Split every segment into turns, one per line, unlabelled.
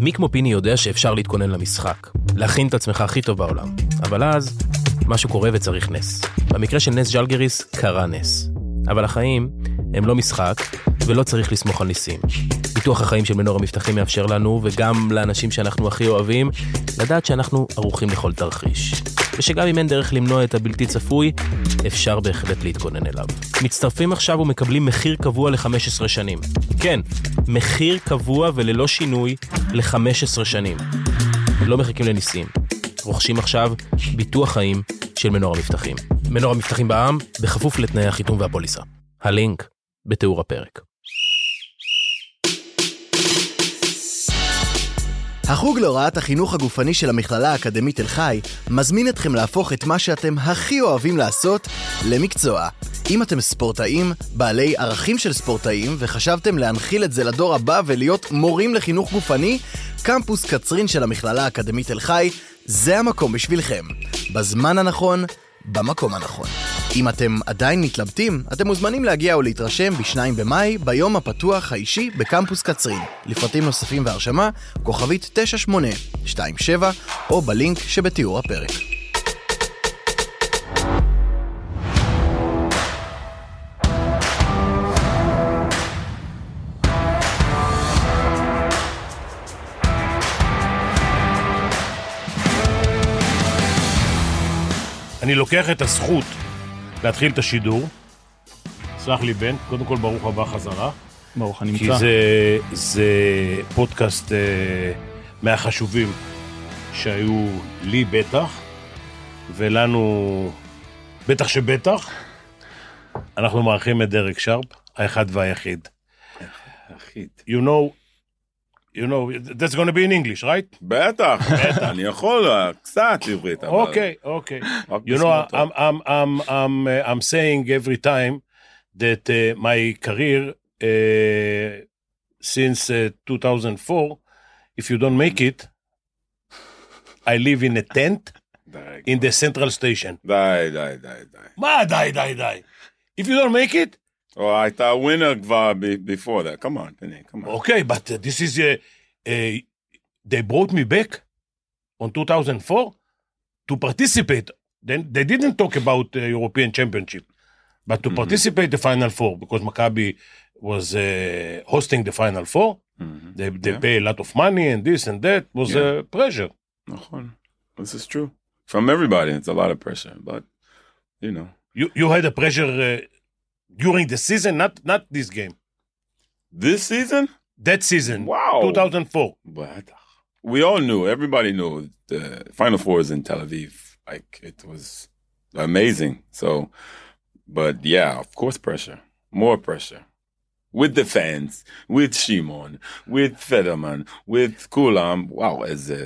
מי כמו פיני יודע שאפשר להתכונן למשחק, להכין את עצמך הכי טוב בעולם, אבל אז משהו קורה וצריך נס. במקרה של נס ז'לגריס קרה נס. אבל החיים הם לא משחק, ולא צריך לסמוך על ניסים. ביטוח החיים של מנור המבטחים מאפשר לנו, וגם לאנשים שאנחנו הכי אוהבים, לדעת שאנחנו ערוכים לכל תרחיש. ושגם אם אין דרך למנוע את הבלתי צפוי, אפשר בהחלט להתכונן אליו. מצטרפים עכשיו ומקבלים מחיר קבוע ל-15 שנים. כן, מחיר קבוע וללא שינוי ל-15 שנים. לא מחכים לניסים. רוכשים עכשיו ביטוח חיים של מנור המבטחים. מנור המבטחים בע"מ, בכפוף לתנאי החיתום והפוליסה. הלינק בתיאור הפרק.
החוג להוראת החינוך הגופני של המכללה האקדמית תל חי מזמין אתכם להפוך את מה שאתם הכי אוהבים לעשות למקצוע. אם אתם ספורטאים, בעלי ערכים של ספורטאים, וחשבתם להנחיל את זה לדור הבא ולהיות מורים לחינוך גופני, קמפוס קצרין של המכללה האקדמית תל חי, זה המקום בשבילכם. בזמן הנכון, במקום הנכון. אם אתם עדיין מתלבטים, אתם מוזמנים להגיע ולהתרשם ב-2 במאי, ביום הפתוח האישי בקמפוס קצרין. לפרטים נוספים והרשמה, כוכבית 9827, או בלינק שבתיאור הפרק.
אני לוקח את הזכות להתחיל את השידור. סלח לי, בן, קודם כל ברוך הבא חזרה.
ברוך
כי
הנמצא.
זה, זה פודקאסט אה, מהחשובים שהיו לי בטח, ולנו בטח שבטח. אנחנו מארחים את דרק שרפ, האחד והיחיד. You know, you know, that's going to be in English, right?
בטח, אני יכול אה, קצת עברית, אבל...
Okay, okay.
רק
You know,
בסמארטפון.
I'm, I'm, I'm, I'm, uh, I'm saying every time that uh, my career uh, since uh, 2004, if you don't make it, I live in a tent
די,
in the central station.
די, די, די, די.
מה, די, די, די. If you don't make it,
או הייתה ווינר כבר ב- before that, come on, הנה, come on.
okay, but uh, this is, uh, uh, they brought me back on 2004 to participate. Then they didn't talk about uh, European Championship, but
Mm-hmm.
to participate the Final Four because Maccabi was uh, hosting the Final Four.
Mhm.
They they
Yeah.
pay a lot of money and this and that was
Yeah.
uh, pressure.
נכון, this is true. From everybody, it's a lot of pressure, but, you know.
You you had a pressure uh, during the season, not not this game,
This season?
that season.
Wow.
2004.
בטח. We all knew, everybody knew, the Final Four is in Tel Aviv. Like, it was amazing. So, but yeah, of course, pressure. More pressure. With the fans, with Shimon, with Federman, with Kulam. Wow, as a,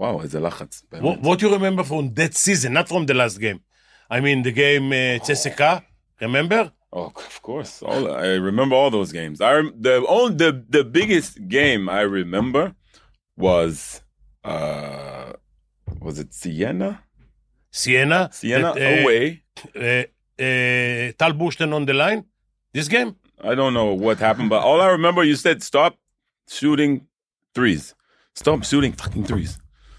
wow, as a לחץ. באמת.
What, what you remember from that season, not from the last game? I mean the game uh, CSKA. Remember?
Oh, of course. All I remember all those games. I rem- the only the the biggest game I remember was uh was it Siena?
Siena.
Siena
that, uh,
away.
uh, uh, Tal Bushten on the line. This game?
I don't know what happened, but all I remember you said stop shooting threes. Stop shooting fucking threes.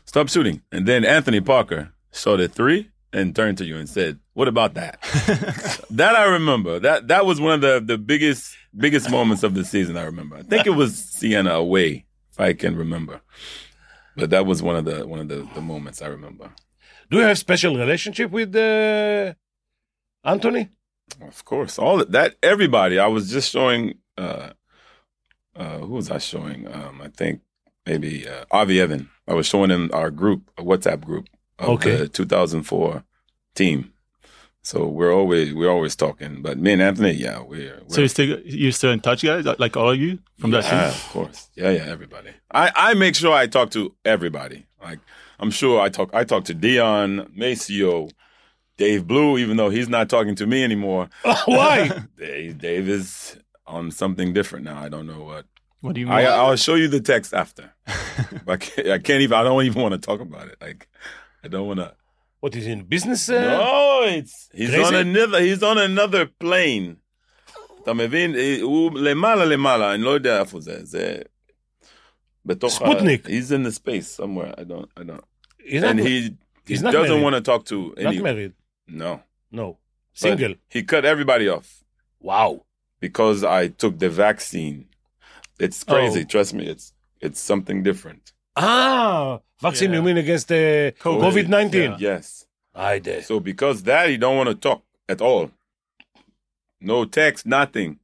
Stop shooting. And then Anthony Parker shot a three and turned to you and said, What about that? that I remember. That that was one of the, the biggest biggest moments of the season I remember. I think it was Sienna away, if I can remember. But that was one of the one of the, the moments I remember.
Do you have special relationship with uh, Anthony?
Of course, all of that everybody. I was just showing. Uh, uh, who was I showing? Um, I think maybe uh, Avi Evan. I was showing him our group, a WhatsApp group of
Okay.
the 2004 team. So we're always we're always talking. But me and Anthony, yeah, we're, we're
So you're still you're still in touch, guys? Like all of you from that
yeah,
team?
of course. Yeah, yeah, everybody. I, I make sure I talk to everybody. Like I'm sure I talk I talk to Dion, Maceo, Dave Blue, even though he's not talking to me anymore.
Why?
Dave, Dave is on something different now. I don't know what.
What do you mean?
I, I'll show you the text after. I, can't, I can't even. I don't even want to talk about it. Like, I don't want to.
What is in business? Uh,
No, it's he's
crazy?
on another. He's on another plane. E, אתה מבין? הוא למעלה למעלה, אני לא יודע איפה זה. זה... בתוך ה-
Sputnik.
he's in the space somewhere. I don't, I don't.
He's not,
And he, he
he's not
doesn't
married.
want to talk to
not
any.
married.
No.
No.
But
Single.
He cut everybody off
Wow.
because I took the vaccine. It's crazy.
Oh.
Trust me. It's it's something different.
Ah, vaccine,
Yeah.
you mean against uh,
COVID.
COVID-19.
Yeah.
Yes.
I did.
So because that, he don't want to talk at all. No text, nothing,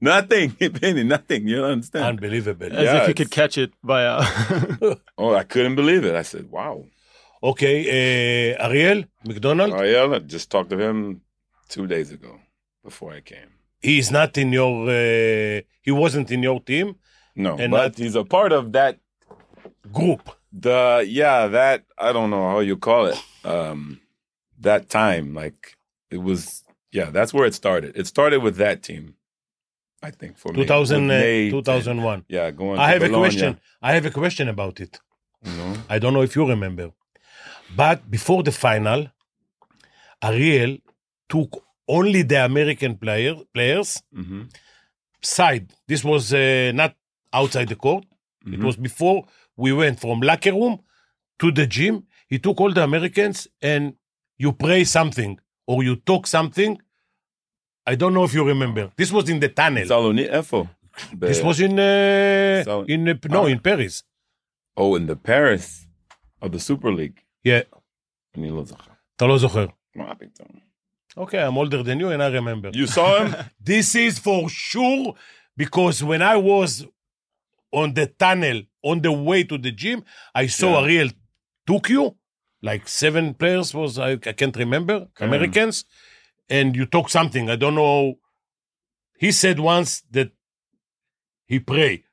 nothing, Benny, nothing. You don't understand?
Unbelievable.
As
Yeah,
if you
it's-
could catch it uh, via.
oh, I couldn't believe it. I said, "Wow."
Okay, uh, Ariel McDonald,
Oh yeah, I just talked to him two days ago before I came.
he is not in your, uh, he wasn't in your team
No,
And
but
that-
he's a part of that.
group.
The yeah, that I don't know how you call it. Um, that time, like it was. Yeah, that's where it started. It started with that team, I think. For me,
2000,
With Nate
uh,
and-
2001.
Yeah, going.
I
to
have a
Bologna,
question. I have a question about it.
you know?
I don't know if you remember, but before the final, Ariel took only the American player, players
hmm
side. This was uh, not outside the court. It was before we went from locker room to the gym. He took all the Americans and you pray something or you talk something. I don't know if you remember. This was in the tunnel.
Saloni Efo.
this was in uh,
Sal-
in uh, no in Paris.
oh in the Paris of the Super League.
Yeah,
אני לא זוכר.
אתה לא זוכר.
מה פתאום?
Okay, I'm older than you and I remember.
You saw him?
This is for sure because when I was on the tunnel on the way to the gym, I saw
Yeah.
Ariel took you, like seven players was I, I can't remember
Mm.
Americans, and you talk something I don't know. He said once that he pray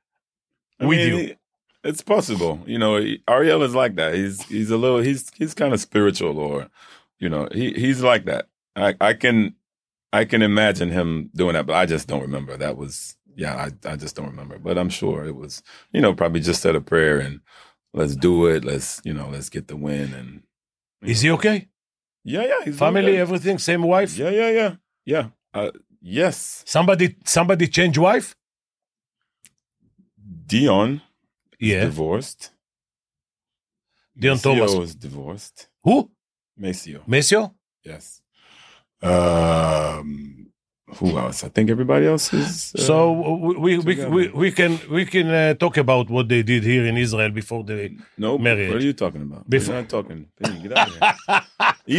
I
with
mean,
you.
It's possible. You know, Ariel is like that. He's he's a little he's he's kind of spiritual or you know, he he's like that. I I can I can imagine him doing that, but I just don't remember. That was yeah, I I just don't remember. But I'm sure it was, you know, probably just said a prayer and let's do it. Let's, you know, let's get the win and
Is he okay?
Yeah, yeah, he's
Family,
okay.
everything, same wife.
Yeah, yeah, yeah. Yeah. Uh, yes.
Somebody, somebody change wife.
Dion
Yeah,
divorced.
Dion Thomas.
Maceo is divorced.
Who?
Maceo.
Mesio?
Yes. Um, who else? I think everybody else is. uh,
So w- we we,
together.
we we can we can uh, talk about what they did here in Israel before the.
no.
married.
What are you talking about?
Before-
We're not talking. Hey, get out of here.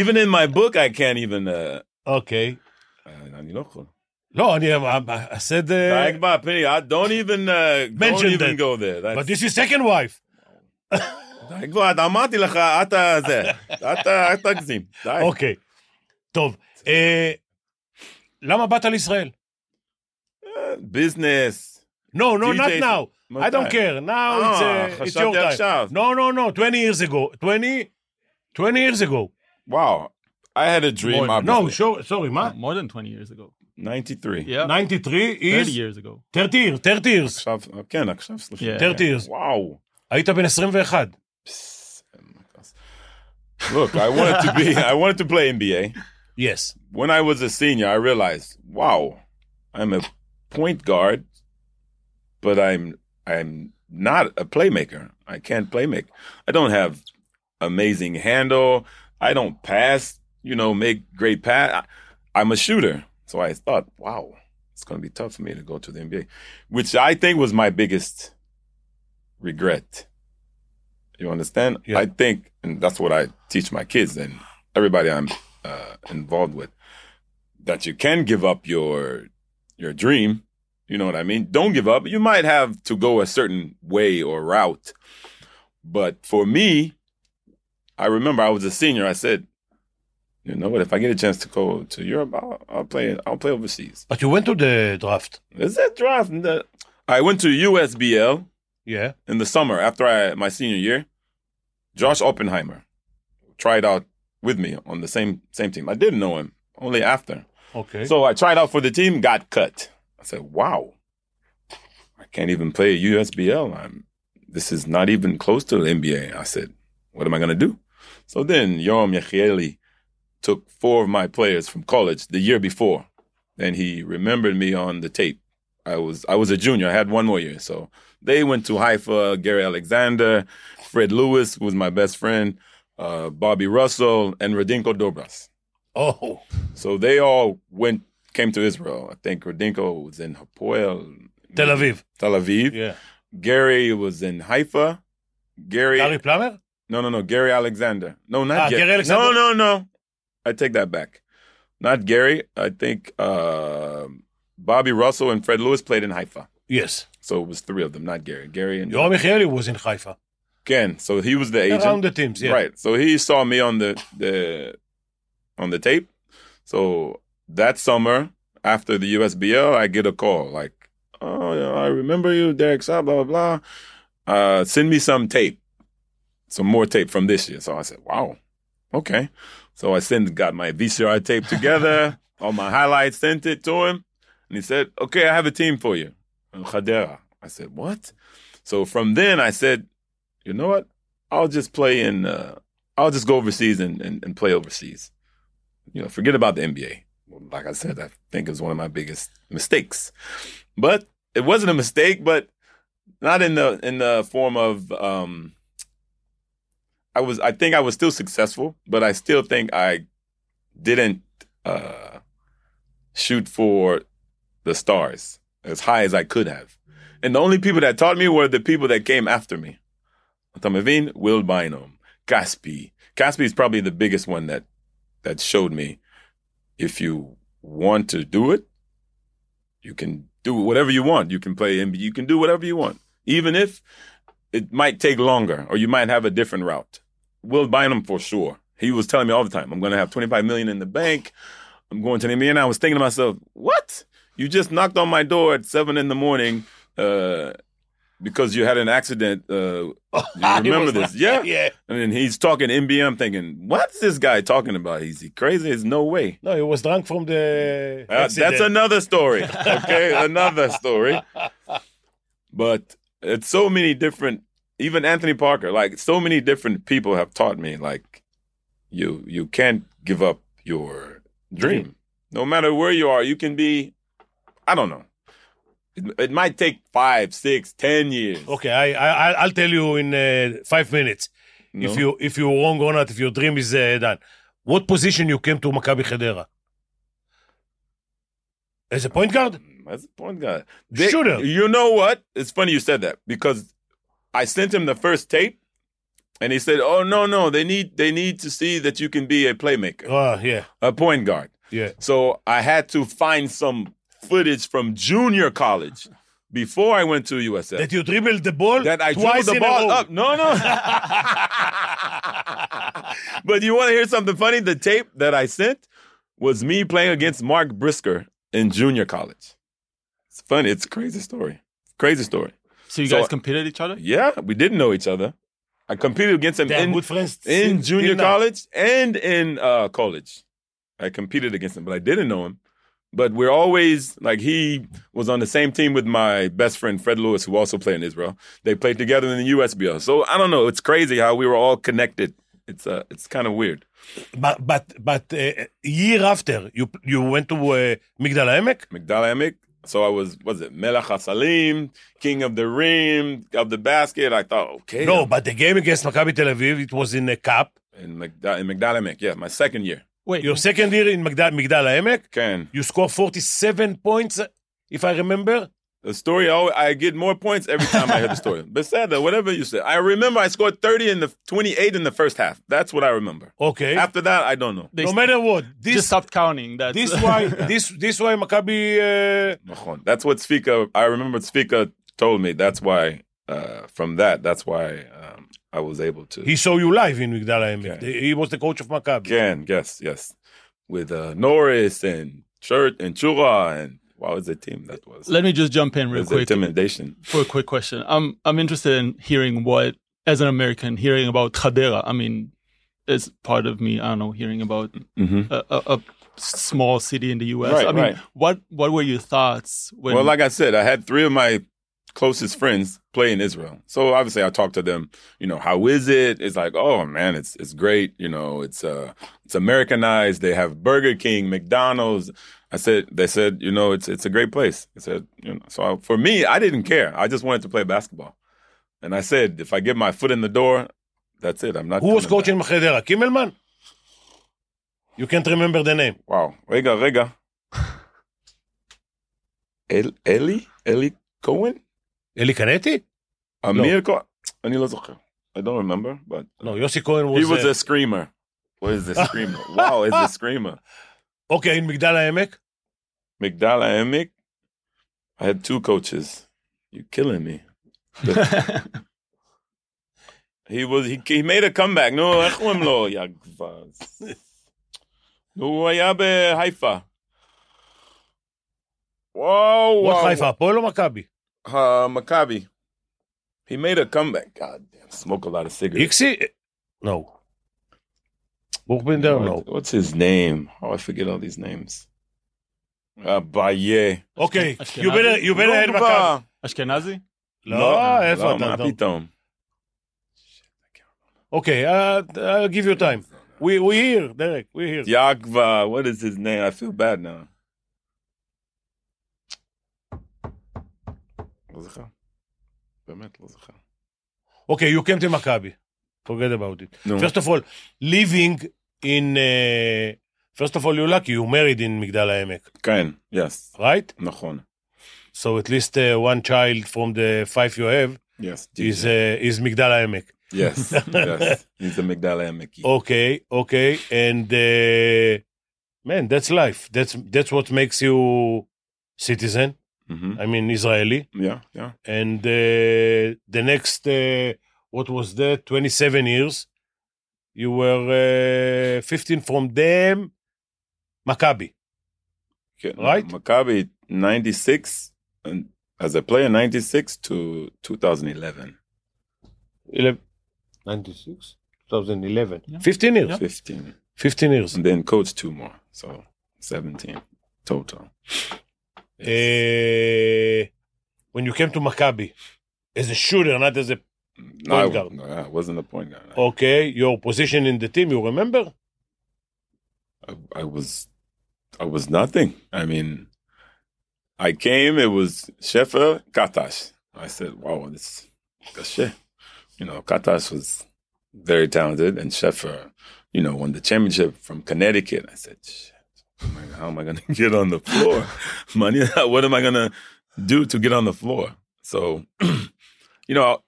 even in my book, I can't even. Uh,
okay.
uh, אני לא יכול.
No, I, I, I said.
Like
Uh,
my opinion, I don't even uh, don't
Mention
even
that.
go there. That's,
but this is second wife.
די כבר, אתה- אמרתי לך, אתה זה, אתה אל תגזים. די.
אוקיי. טוב. אה, למה באת לישראל?
ביזנס.
No, no, not
DJ,
now. I don't
מתי?
care. Now
Ah,
אה,
it's, uh, it's
חשבתי
your time.
עכשיו.
No, no, no. 20 years ago. 20, 20 years ago.
Wow, I had a dream.
More-
obviously.
No, sure, sorry, מה?
More than 20 years ago.
93.
Yeah.
93
30
is
years ago.
30 years, 30 years.
עכשיו, כן, עכשיו סליחה.
Yeah.
30 years.
וואו.
היית בן 21.
Psst. Look, I wanted to be I wanted to play NBA.
Yes.
When I was a senior, I realized, wow, I'm a point guard, but I'm I'm not a playmaker. I can't playmake. I don't have amazing handle. I don't pass, you know, make great pass. I, I'm a shooter. So I thought, wow, it's going to be tough for me to go to the NBA, which I think was my biggest regret. You understand?
Yeah.
I think, and that's what I teach my kids and everybody I'm uh, involved with, that you can give up your your dream. You know what I mean? Don't give up. You might have to go a certain way or route, but for me, I remember I was a senior. I said, "You know what? If I get a chance to go to Europe, I'll, I'll play. I'll play overseas."
But you went to the draft.
Is that draft? in the- I went to USBL
Yeah.
in the summer after I, my senior year. Josh Oppenheimer tried out with me on the same same team. I didn't know him only after.
Okay.
So I tried out for the team, got cut. I said, "Wow, I can't even play USBL. I'm this is not even close to the NBA." I said, "What am I gonna do?" So then Yoram Yechieli took four of my players from college the year before, and he remembered me on the tape I was I was a junior. I had one more year. So they went to Haifa. Gary Alexander, Fred Lewis who was my best friend, uh, Bobby Russell, and Radinko Dobras.
Oh,
So they all went came to Israel. I think Radinko was in Hapoel,
תל אביב.
Tel Aviv.
Yeah.
Gary was in Haifa. Gary,
ארי פלמר?
no, no, no, Gary Alexander. No, not
Ah,
Gary.
Gary Alexander.
No, no, no. I take that back. Not Gary. I think uh, Bobby Russell and Fred Lewis played in Haifa.
Yes.
So it was three of them, not Gary. Gary and
יורם יחיאלי was in חיפה.
Ken. So he was the agent.
Around the teams, yeah.
Right. So he saw me on the, the on the tape. So that summer after the USBL, I get a call like, "Oh, you know, I remember you, Derek Shaw, blah blah blah. Uh, send me some tape, some more tape from this year." So I said, "Wow, okay." So I sent got my VCR tape together, all my highlights, sent it to him, and he said, "Okay, I have a team for you, in Khadera." I said, "What?" So from then, I said, "You know what? I'll just play in. Uh, I'll just go overseas and, and, and play overseas. You know, forget about the NBA. Like I said, I think it was one of my biggest mistakes. But it wasn't a mistake, but not in the in the form of um, I was. I think I was still successful, but I still think I didn't uh, shoot for the stars as high as I could have. And the only people that taught me were the people that came after me. אתה מבין? Will Bynum, Caspi. Caspi is probably the biggest one that that showed me if you want to do it, you can do whatever you want. You can play NBA, you can do whatever you want, even if it might take longer or you might have a different route. Will Bynum for sure. He was telling me all the time, I'm going to have 25 million in the bank. I'm going to the NBA. And I was thinking to myself, what? You just knocked on my door at seven in the morning uh, because you had an accident uh, you remember this? Yeah.
Yeah.
I mean, he's talking NBA. I'm thinking, what's this guy talking about? Is he crazy? There's no way.
No, he was drunk from the...
Uh, that's
accident.
another story. Okay, another story. But it's so many different. Even Anthony Parker, like so many different people have taught me, like you you can't give up your dream. No matter where you are, you can be. I don't know. It, it might take five, six, ten years.
Okay, I, I, I'll- I'll tell you in uh, five minutes
No?
if you if you're wrong or not, if your dream is uh, done. What position you came to Maccabi Hedera? As a point guard?
That's the point guy.
Shooter.
You know what? It's funny you said that because I sent him the first tape, and he said, "Oh no, no, they need they need to see that you can be a playmaker,
Oh, yeah,
a point guard."
yeah.
So I had to find some footage from junior college before I went to USF
That you dribbled the ball
that I
twice
threw the
in a row.
ball up. No, no. but you want to hear something funny? The tape that I sent was me playing against Mark Brisker in junior college. It's funny. It's a crazy story. Crazy story.
So you
So-
guys competed each other?
Yeah, we didn't know each other. I competed against him
They are
in,
good friends.
in
since- till
junior
now.
college and in uh, college. I competed against him, but I didn't know him. But we're always like he was on the same team with my best friend Fred Lewis, who also played in Israel. They played together in the USBL. So I don't know. It's crazy how we were all connected. It's uh, it's kind of weird.
But but but uh, year after you you went to uh, Migdal Haemek.
Migdal Emek. So I was was it Melach Hasalim, king of the rim of the basket. I thought okay,
No, but the game against Maccabi Tel Aviv it was in a cup.
in Migdal, in Migdal Emek, yeah, my second year.
Wait,
Your second year in Migdal Migdal Haemek,
Can
you scored 47 points, if I remember.
The story, I, always, I get more points every time I hear the story. But sad though, whatever you said. I remember I scored 30 in the 28 in the first half. That's what I remember.
Okay.
After that, I don't know.
they
no matter what,
just
this
stopped counting. That
this why this this why Maccabi. Uh,
Mahon. That's what Svika, I remember Svika told me. That's why, uh, from that, that's why um, I was able to.
he saw you live in Migdal Haemek.
Okay.
He was the coach of Maccabi.
Again, yes, yes. With uh, Norris and Chert and Chura and what was the team that was?
Let me just jump in
It
real
was
quick
intimidation.
for a quick question. I'm I'm interested in hearing what, as an American, hearing about Khadera. I mean, it's part of me. I don't know, hearing about
Mm-hmm.
a, a, a small city in the U.S.
Right,
I mean,
right.
what what were your thoughts when?
well, like I said, I had three of my closest friends play in Israel. So obviously I talk to them, you know, how is it? It's like, oh man, it's it's great, you know, it's uh it's Americanized. They have Burger King, McDonald's. I said they said, you know, it's it's a great place. I said, you know, so I, for me, I didn't care. I just wanted to play basketball. And I said, if I get my foot in the door, that's it. I'm not
Who was
coming back.
coaching בחדרה? קימלמן? You can't remember the name.
וואו, רגע, רגע. אל, אלי? אלי כהן?
אלי קנטי?
אמיר כהן? אני לא זוכר. I don't remember, but...
לא, יוסי כהן
He
was...
was a screamer. What is the screamer? wow, is the screamer.
אוקיי, in מגדל העמק?
Migdala Emek. I had two coaches. you killing me. He was, he, he made a comeback. נו, איך קוראים לו? יא גבז. נו, הוא היה בחיפה. וואו,
וואט
וואו.
חיפה, הפועל או מכבי?
uh, Maccabi. He made a comeback. God damn, smoke a lot of cigarettes.
איקסי? לא. בורבינדר? לא.
What- What's his name? Oh, I forget all these names. Uh, Baye.
אוקיי,
אשכנזי?
you better- you better had מכבי.
אשכנזי?
לא, איפה
לא,
אתה?
מה
אתה?
פתאום?
אוקיי, אה, uh, I'll give you time. We we here, דרק, we here.
Yagva. What is his name? I feel bad now. לא זוכר. באמת לא זוכר.
אוקיי, you came to מכבי. Forget about it.
נו.
First of all, living in... uh, First of all, you lucky, you married in מגדל העמק,
כן, yes.
right?
נכון.
So at least uh, one child from the five you have
Yes.
is,
DJ.
uh, is מגדל העמק.
Yes, yes. He's a Migdala Emeki.
Oh. Okay, okay, and uh, man, that's life. That's that's what makes you citizen.
Mhm.
I mean, Israeli.
Yeah, yeah.
And uh, the next, uh, what was that? Twenty-seven years. You were uh, fifteen from them, Maccabi.
Okay,
Right?
Maccabi 96 and as a player 96 to 2011
Eleven. 96, 2011.
Yeah.
15 years.
15
15 years. Uh,
and then coach two more so 17 total
Uh, when you came to Maccabi, as a shooter, not as a.
no, Mm, I,
guard.
no, I wasn't a point guard I-
Okay, your position in the team, you remember?
I, I was I was nothing I mean I came it was Sheffer Katash I said wow this cachet you know Katash was very talented and Sheffer you know won the championship from Connecticut I said shit I'm like, how am I going to get on the floor? Money, what am I going to do to get on the floor? So, you know,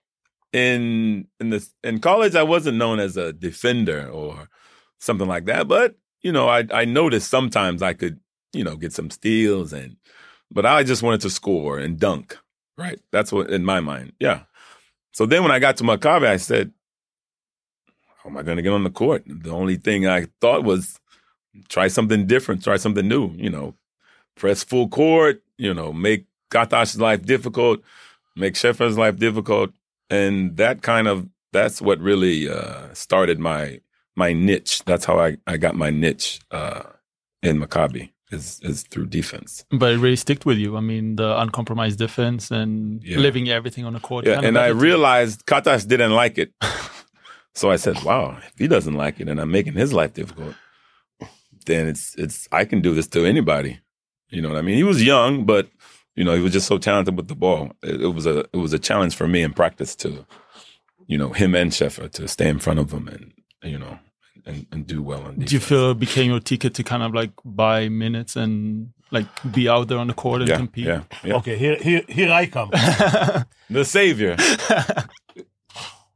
in in this in college, I wasn't known as a defender or something like that, but you know, I I noticed sometimes I could you know get some steals and, but I just wanted to score and dunk. Right, that's what in my mind. Yeah. So then when I got to Maccabi, I said, "How am I going to get on the court?" The only thing I thought was try something different, try something new, you know, press full court, you know, make Katash's life difficult, make Sheffer's life difficult. And that kind of, that's what really uh, started my my niche. That's how I, I got my niche uh, in Maccabi is, is through defense.
But it really sticked with you. I mean, the uncompromised defense and
Yeah.
living everything on the court.
Yeah,
kind of
and I
attitude.
realized Katash didn't like it. so I said, "Wow, if he doesn't like it, and I'm making his life difficult, then it's it's I can do this to anybody." You know what I mean? He was young, but you know he was just so talented with the ball. It, it was a it was a challenge for me in practice to, you know, him and Sheffer to stay in front of him and you know and, and do well on defense.
Do you feel it became your ticket to kind of like buy minutes and like be out there on the court and
yeah,
compete?
yeah, yeah.
Okay, here, here, here I come.
The savior.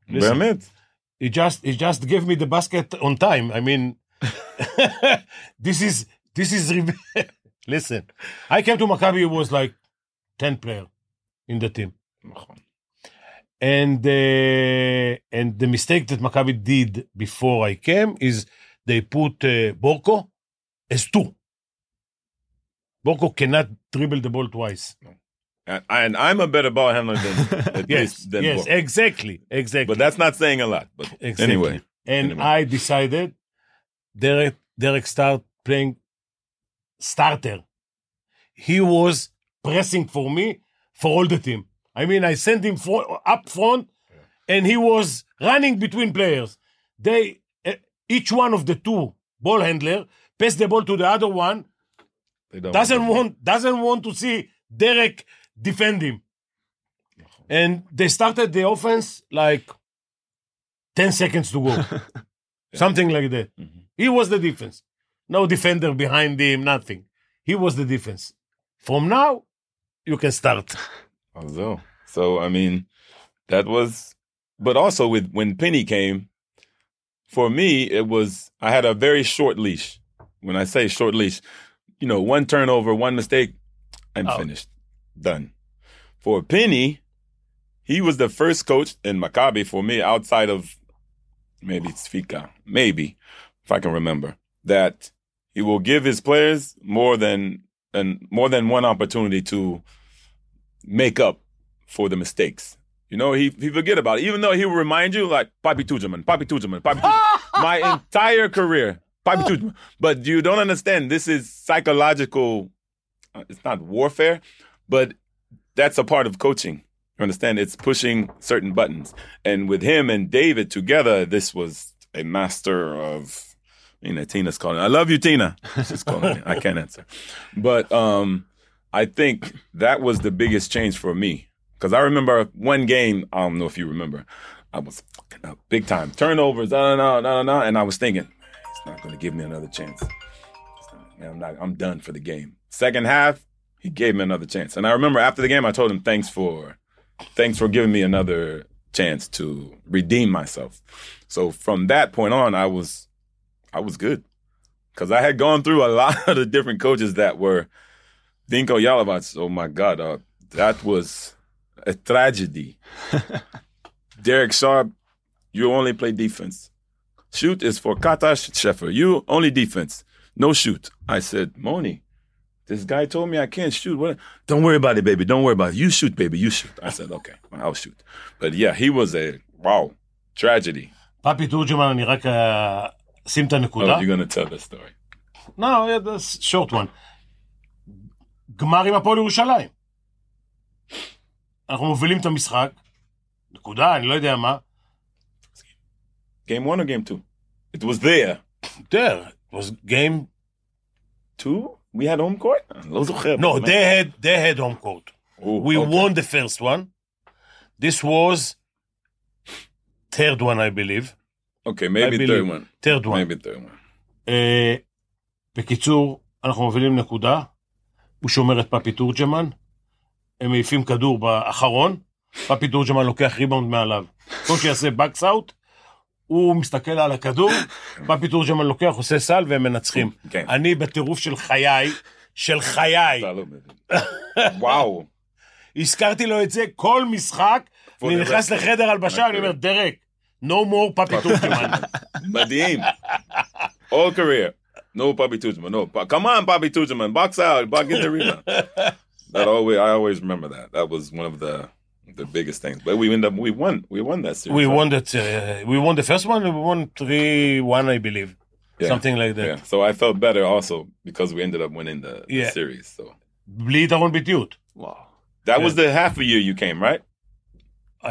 Listen.
Mehmet.
he just, he just gave me the basket on time. I mean, this is, this is. re- Listen, I came to Maccabi. It was like ten player in the team, and uh, and the mistake that Maccabi did before I came is they put uh, Borco as two. Borco cannot dribble the ball twice.
And, and I'm a better ball handler than at
Yes,
least than
yes,
Bork.
exactly, exactly.
But that's not saying a lot. But
Exactly.
anyway,
and
Anyway.
I decided Derek Derek start playing starter. He was pressing for me for all the team. I mean, I sent him fro- up front, and he was running between players. They, eh, each one of the two ball handler, pass the ball to the other one.
They don't
Doesn't want, doesn't want to see Derek defend him. And they started the offense like ten seconds to go, something like that.
Mm-hmm.
He was the defense. No defender behind him, nothing. He was the defense. From now, you can start.
So, so I mean, that was, but also with when Penny came, for me it was I had a very short leash. When I say short leash, you know, one turnover, one mistake, I'm finished, done. For Penny, he was the first coach in Maccabi for me outside of maybe Sfika, maybe if I can remember that he will give his players more than and more than one opportunity to make up for the mistakes. You know, he he forget about it. Even though he will remind you, like Papi Tujaman, Papi Tujaman, Papi Tujaman. my entire career, Papi Tujaman. But you don't understand. This is psychological. uh, It's not warfare, but that's a part of coaching. You understand? It's pushing certain buttons. And with him and David together, this was a master of. You know, Tina's calling. I love you, Tina. She's calling. me. I can't answer, but um, I think that was the biggest change for me. Because I remember one game, I don't know if you remember, I was fucking up big time. Turnovers, no, no, no, no, and I was thinking, it's not going to give me another chance. It's not- I'm, not, I'm done for the game. Second half, he gave me another chance. And I remember after the game, I told him, thanks for, thanks for giving me another chance to redeem myself. So from that point on, I was, I was good. Because I had gone through a lot of the different coaches that were, Dinko Yalavac, oh my God, uh, that was a tragedy. Derek Sharp, you only play defense. Shoot is for Katash Sheffer. You only defense, no shoot. I said, Moni, this guy told me I can't shoot. What? Don't worry about it, baby. Don't worry about it. You shoot, baby. You shoot. I said, okay, I'll shoot. But yeah, he was a wow tragedy.
פאפי תורג'מן, אני רק אה, אשים את הנקודה.
Oh, you're gonna tell the story.
No, yeah, that's short one. גמר עם הפועל ירושלים. אנחנו מובילים את המשחק, נקודה, אני לא יודע מה.
Game one or game two? It was there.
There was game,
Two? We had home court. לא זוכר.
no,
man.
they had, they had home court.
Oh,
We
okay.
won the first one. This was third one, I believe.
Okay,
I
maybe
believe.
third one.
third one.
Maybe third one.
אה, בקיצור, אנחנו מובילים נקודה, הוא שומר את פאפי תורג'מן, הם מעיפים כדור באחרון, פאפי תורג'מן לוקח ריבאונד מעליו. במקום שיעשה בקס אאוט, הוא מסתכל על הכדור, פאפי תורג'מן לוקח, עושה סל, והם מנצחים.
כן.
אני בטירוף של חיי, של חיי,
וואו.
הזכרתי לו את זה כל משחק,
For
אני
the
נכנס
rest.
לחדר הלבשה, אני אומר, דרק, no more פאפי תורג'מן.
מדהים. All career. No Bobby Tuchman. No. Pa- Come on, Bobby Tuchman. Box out. Box get the rebound. That always, I always remember that. That was one of the the biggest things. But we end up, we won. We won that series.
We
right?
won that. Uh, we won the first one. and We won three one, I believe,
Yeah.
something like that.
Yeah. So I felt better also because we ended up winning the, the
Yeah.
series. So
בלי יתרון בדיוק.
Wow.
that was the half a year you came, right?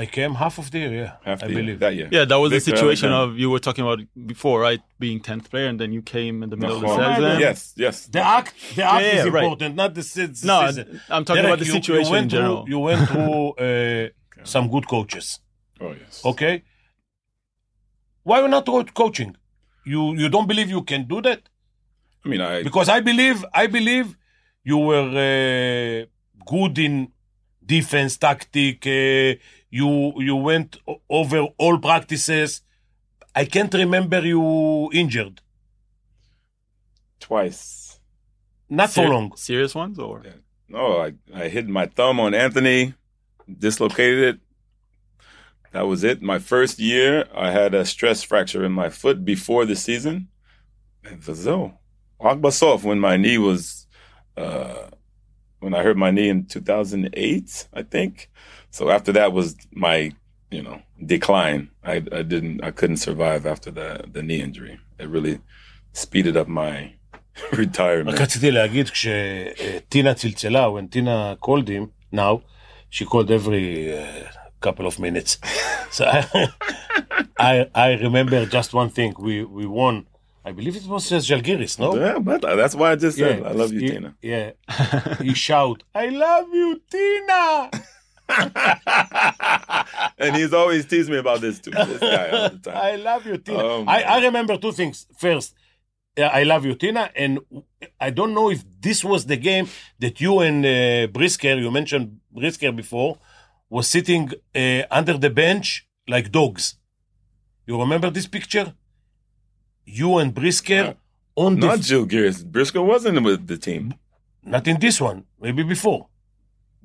I came half of the year. Yeah,
Half the
I
year,
believe.
that year.
Yeah, that was
Victor
the situation
Alexander.
of you were talking about before, right? Being 10th player and then you came in the middle of the
Oh,
season.
Yes, yes.
The act, the act
yeah,
is
right.
important, not the, se- the
No,
season.
I'm talking about the
you-
situation
you went
in
through-
general.
you went through uh, some good coaches.
Oh, yes.
Okay, why you not co- coaching? You you don't believe you can do that?
I mean, I
because I believe I believe you were uh, good in defense tactic. Uh, you you went o- over all practices. I can't remember you injured.
twice.
Not
Ser-
for long.
Serious ones or?
No, Oh, I, I hit my thumb on Anthony, dislocated it. That was it. My first year, I had a stress fracture in my foot before the season. And so, Akbasov, when my knee was, uh, when I hurt my knee in 2008, I think. So after that was my, you know, decline. I, I didn't, I couldn't survive after the, the knee injury. It really speeded up my
uh,
retirement.
רק רציתי להגיד כשטינה צלצלה, when טינה called him now, she called every uh, couple of minutes. so I, I I remember just one thing. We we won. I believe it was uh, Zalgiris, no?
Yeah, but that's why I just said I love you,
he-
Tina.
Yeah. he shout, I love you, Tina.
And he's always teased me about this too. This guy all the time.
I love you, Tina.
Oh,
I,
my
I remember two things. First, uh, I love you, Tina, and I don't know if this was the game that you and uh, Brisker, you mentioned Brisker before, was sitting uh, under the bench like dogs. You remember this picture? You and Brisker on the
Not Jill Gears. Briscoe wasn't with the team.
not in this one, maybe before.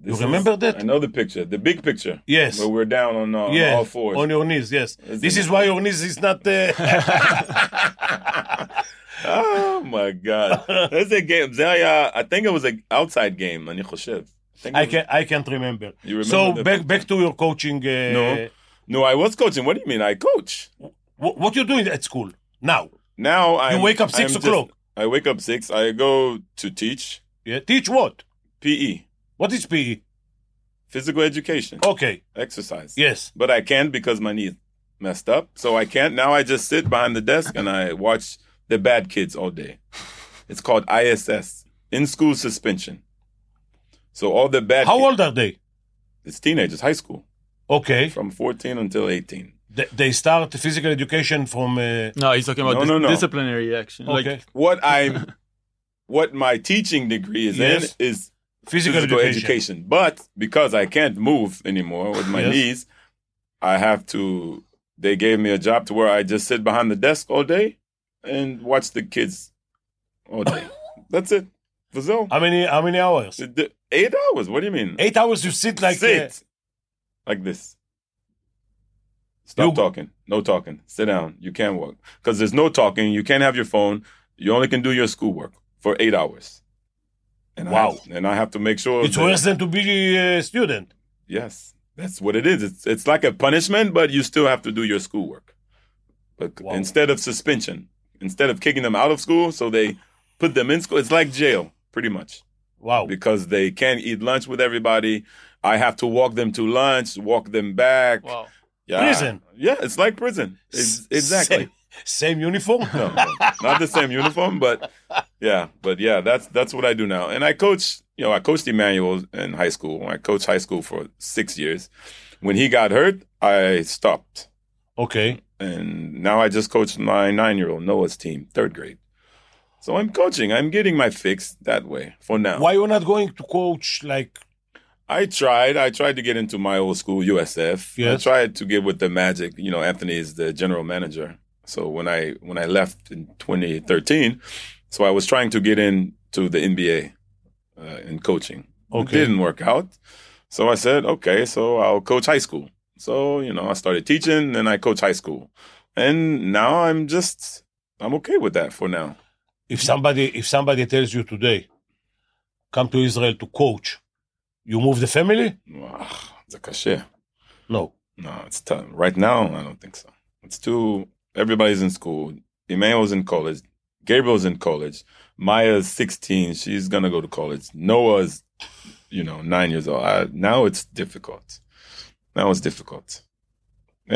This is-
remember that?
I know the picture, the big picture.
Yes.
Where we're down on, uh, on
yeah,
all fours.
on your knees. Yes,
Isn't
this
it?
is why your knees is not. Uh,
oh my God. That's a game. Zelia, I think it was an outside game, אני חושב. think it
I
was-
can I can't remember.
You
so
remember the-
back back to your coaching. Uh,
No. No, I was coaching. What do you mean? I coach.
wh- what you doing at school now?
Now I
wake up six o'clock.
I wake up six. I go to teach
Yeah, teach what?
PE,
What is PE?
physical education,
Okay,
exercise.
yes.
but I can't because my knee messed up. So I can't. Now I just sit behind the desk and I watch the bad kids all day. It's called ISS, in school suspension. So all the bad.
How
kids-
old are they?
It's teenagers, high school,
Okay,
from 14 until 18.
They- they start physical education from. Uh,
No, he's talking about
No,
dis-
no, no.
disciplinary action.
okay,
Like,
What I, what my teaching degree is
Yes.
in is
physical, education.
But because I can't move anymore with my
Yes.
knees, I have to. They gave me a job to where I just sit behind the desk all day and watch the kids all day. That's it. Brazil.
How many how many hours?
Eight hours. What do you mean?
Eight hours you sit like.
sit
uh,
like this. Stop
You-
talking. No talking. Sit down. You can't walk because there's no talking. You can't have your phone. You only can do your schoolwork for eight hours. And I
Wow.
have- and I have to make sure
it's
that-
worse than to be a student.
Yes, that's what it is. It's it's like a punishment, but you still have to do your schoolwork. But
Wow.
instead of suspension, instead of kicking them out of school, so they put them in school. It's like jail, pretty much,
Wow.
because they can't eat lunch with everybody. I have to walk them to lunch, walk them back.
wow.
Yeah.
Prison.
Yeah, it's like prison. It's, exactly.
Same, same uniform.
No, no, not the same uniform, but yeah, but yeah, that's that's what I do now. And I coach, you know, I coached Emmanuel in high school. I coached high school for six years. When he got hurt, I stopped,
Okay.
and now I just coach my nine-year-old Noah's team, third grade. So I'm coaching. I'm getting my fix that way for now.
Why you're not going to coach like
I tried. I tried to get into my old school USF.
Yes.
I tried to get with the Magic. You know, Anthony is the general manager. So when I when I left in 2013, so I was trying to get into the NBA uh, in coaching.
Okay.
It didn't work out. So I said, okay, so I'll coach high school. So you know, I started teaching, and I coach high school, and now I'm just I'm okay with that for now.
if somebody if somebody tells you today come to israel to coach you move the family
Ah, זה קשה.
no
No, it's tough. Right now, I don't think so. It's too. Everybody's in school. Emmanuel's in college. Gabriel's in college. Maya's 16. She's gonna go to college. Noah's, you know, nine years old. I, now it's difficult. Now it's difficult,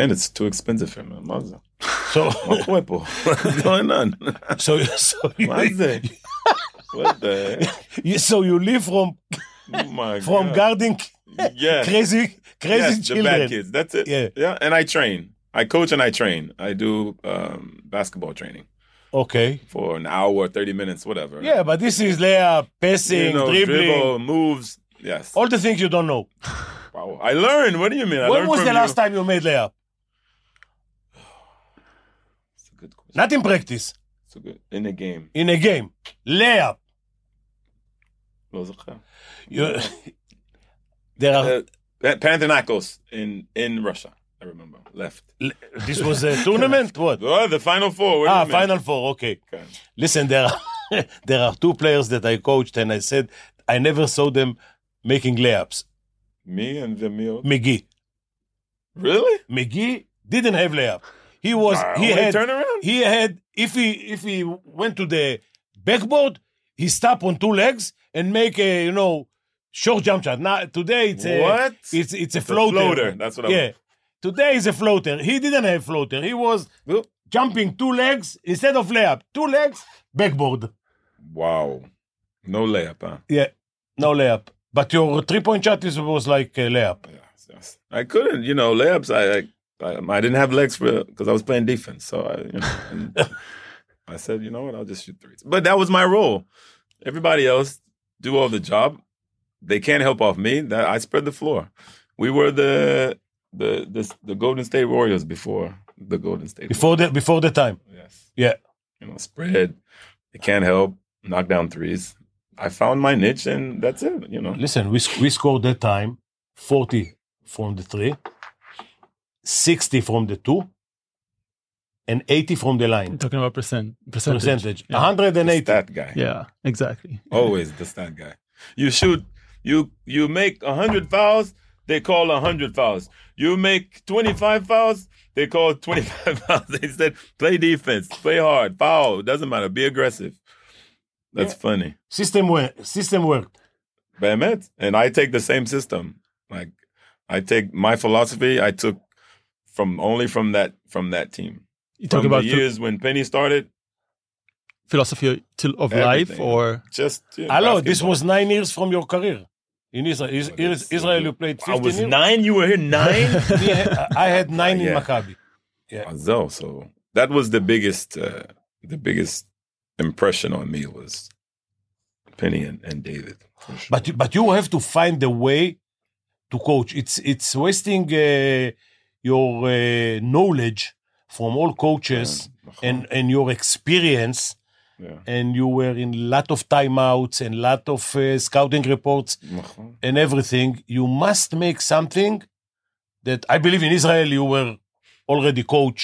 and it's too expensive for me. Mazel.
so
My cuerpo. What's going on?
so so you,
Mazel. What the?
you- so you live from
Oh my
from
God.
guarding
Yeah.
crazy crazy
yes, the bad
children
kids. That's it.
Yeah.
yeah. And I train. I coach and I train. I do um, basketball training
okay
for an hour, thirty minutes, whatever.
yeah but this is layer passing
you know,
dribbling
dribble, moves. Yes.
all the things you don't know
Wow. I learned. What do you mean? I
when
learned
was
from
the
you.
last time you made layup
It's a good question.
not in practice
It's a good in the game.
in a game layup
לא זוכר.
you there are
Uh, Pan- Panathinaikos in in Russia. I remember left.
this was a tournament what
Oh, the final four. What do
ah
you mean?
final four okay
Okay.
Listen, there are, there are two players that I coached, and I said I never saw them making layups.
Me and Vimeo.
McGee,
Really?
McGee didn't have layup. He was
Ah,
he
only
had
turnaround?
he had if he if he went to the backboard, he stopped on two legs and make a you know short jump shot. Now today it's a
What?
It's it's a
a
floater.
floater, that's what I
yeah.
meant.
Today is a floater. He didn't have floater. He was
Oop.
jumping two legs instead of layup. Two legs, backboard.
Wow. No layup, huh?
Yeah, no layup. But your three point shot is, was like a layup.
I couldn't, you know, layups. I I, I, I didn't have legs for because I was playing defense. So I, you know, and I said, you know what, I'll just shoot threes. But that was my role. Everybody else do all the job. They can't help off me. That I spread the floor. We were the the the, the Golden State Warriors before the Golden State.
Before the before the time.
Warriors. yes,
Yeah.
you know, spread. They can't help. Knock down threes. I found my niche, and that's it. You know,
Listen, we sc- we scored that time forty from the three, sixty from the two, and eighty from the line
talking about percent percentage.
percentage.
Yeah.
One hundred and eighty.
that guy.
Yeah, exactly.
Always the stunt guy. You shoot, you you make hundred fouls, they call hundred fouls. You make twenty five fouls, they call twenty five fouls. They said play defense, play hard, foul, doesn't matter, be aggressive. That's funny.
System work. System work.
Behemet. And I take the same system. Like I take my philosophy I took from only from that from that team. From
You talking about
the
ph-
years when Penny started,
philosophy till- of life
Everything.
or
just yeah,
Hello, this
basketball.
was nine years from your career in Israel. Is,
But
is,
it's-
Israel, you played 15
I was
years.
nine, you were here nine?
Me, I- I had nine in
Yeah.
Maccabi.
Azel. So that was the biggest, uh, the biggest impression on me was Penny and, and David. for sure.
But you- but you have to find a way to coach. It's it's wasting uh, your uh, knowledge from all coaches and and your experience.
Yeah.
And you were in lot of timeouts and lot of uh, scouting reports and everything. You must make something that I believe in Israel. You were already coach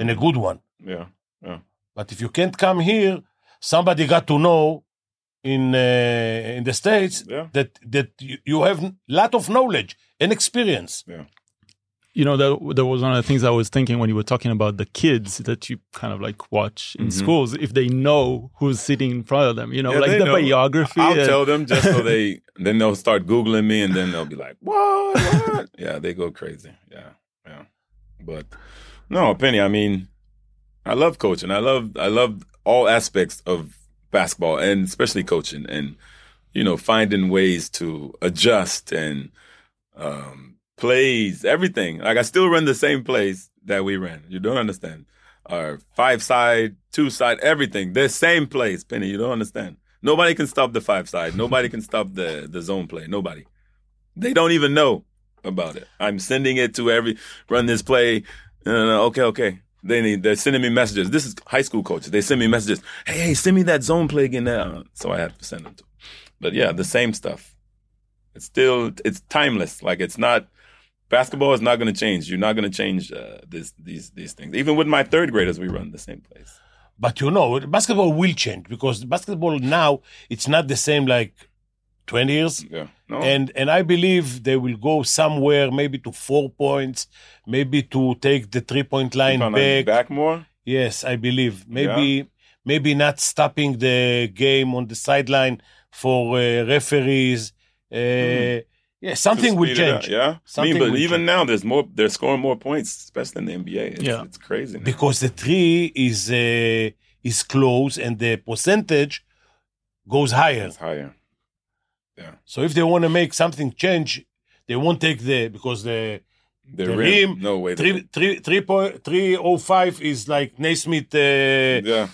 and a good one.
yeah,
But if you can't come here, somebody got to know in uh, in the states
yeah.
that that you, you have lot of knowledge and experience.
you know that that was one of the things I was thinking when you were talking about the kids that you kind of like watch in
Mhm.
schools if they know who's sitting in front of them. You know,
Yeah,
like
they
the
know.
biography.
I'll
and-
tell them just so they then they'll start googling me and then they'll be like, "What? What?" yeah, they go crazy. Yeah, yeah. But no, Penny. I mean, I love coaching. I love I love all aspects of basketball and especially coaching and you know finding ways to adjust and um, plays everything. Like I still run the same plays that we ran. You don't understand. Our five side, two side, everything. They're same plays, Penny. You don't understand. Nobody can stop the five side. Nobody can stop the the zone play. Nobody. They don't even know about it. I'm sending it to every run this play. No, no, no. Okay, okay. They need, they're sending me messages. This is high school coaches. They send me messages. Hey, hey, send me that zone play again now. So I have to send them to. But yeah, the same stuff. It's still it's timeless. Like it's not basketball is not going to change. You're not going to change uh, this these these things. Even with my third graders, we run the same place.
But you know, basketball will change because basketball now it's not the same like 20 years.
Yeah. No.
And and I believe they will go somewhere, maybe to four points, maybe to take the three point line
Keep on
back.
more.
Yes, I believe. Maybe maybe not stopping the game on the sideline for uh, referees. Uh, Yeah, something
Mm-hmm. To
will
speed it up,
change
Yeah.
Something
I mean,
will
but even
change.
now, there's more. They're scoring more points, especially in the NBA. It's,
Yeah.
It's crazy. Now.
because the three is uh, is close and the percentage goes higher.
It's higher.
So if they want to make something change, they won't take the because the
The,
The
rim,
rim,
No way. the
three
rim.
three three point three oh five is like Naismith. Uh,
Yeah.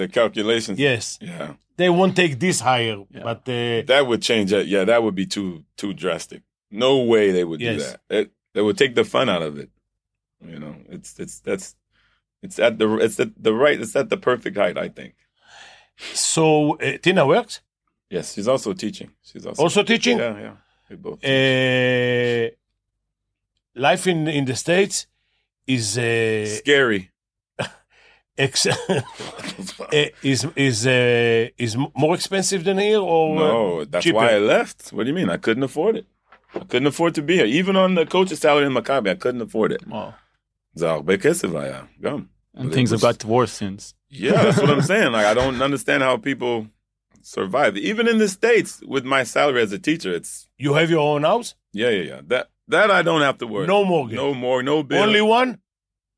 The calculations.
Yes,
Yeah.
they won't take this higher,
Yeah.
but uh,
That would change it. Yeah. That would be too too drastic. No way they would do
Yes.
that. It, they would take the fun out of it. You know. It's it's that's it's at the it's at the right it's at the perfect height. I think.
so uh, Tina worked.
Yes. She's also teaching. She's also
Also teaching?
Yeah. Yeah. They both.
uh, life in in the states is uh,
Scary.
ex- eh, is is uh, is m- more expensive than here or
No, that's
cheaper.
why I left. What do you mean? I couldn't afford it. I couldn't afford to be here. Even on the coach's salary in Maccabi, I couldn't afford it.
Wow.
זר, בכסף היה, גם.
And things have got worse since.
Yeah, that's what I'm saying. Like, I don't understand how people survived. Even in the States, with my salary as a teacher, it's
You have your own house?
yeah, yeah, yeah. That that I don't have to worry.
No mortgage.
no more, no bill.
Only one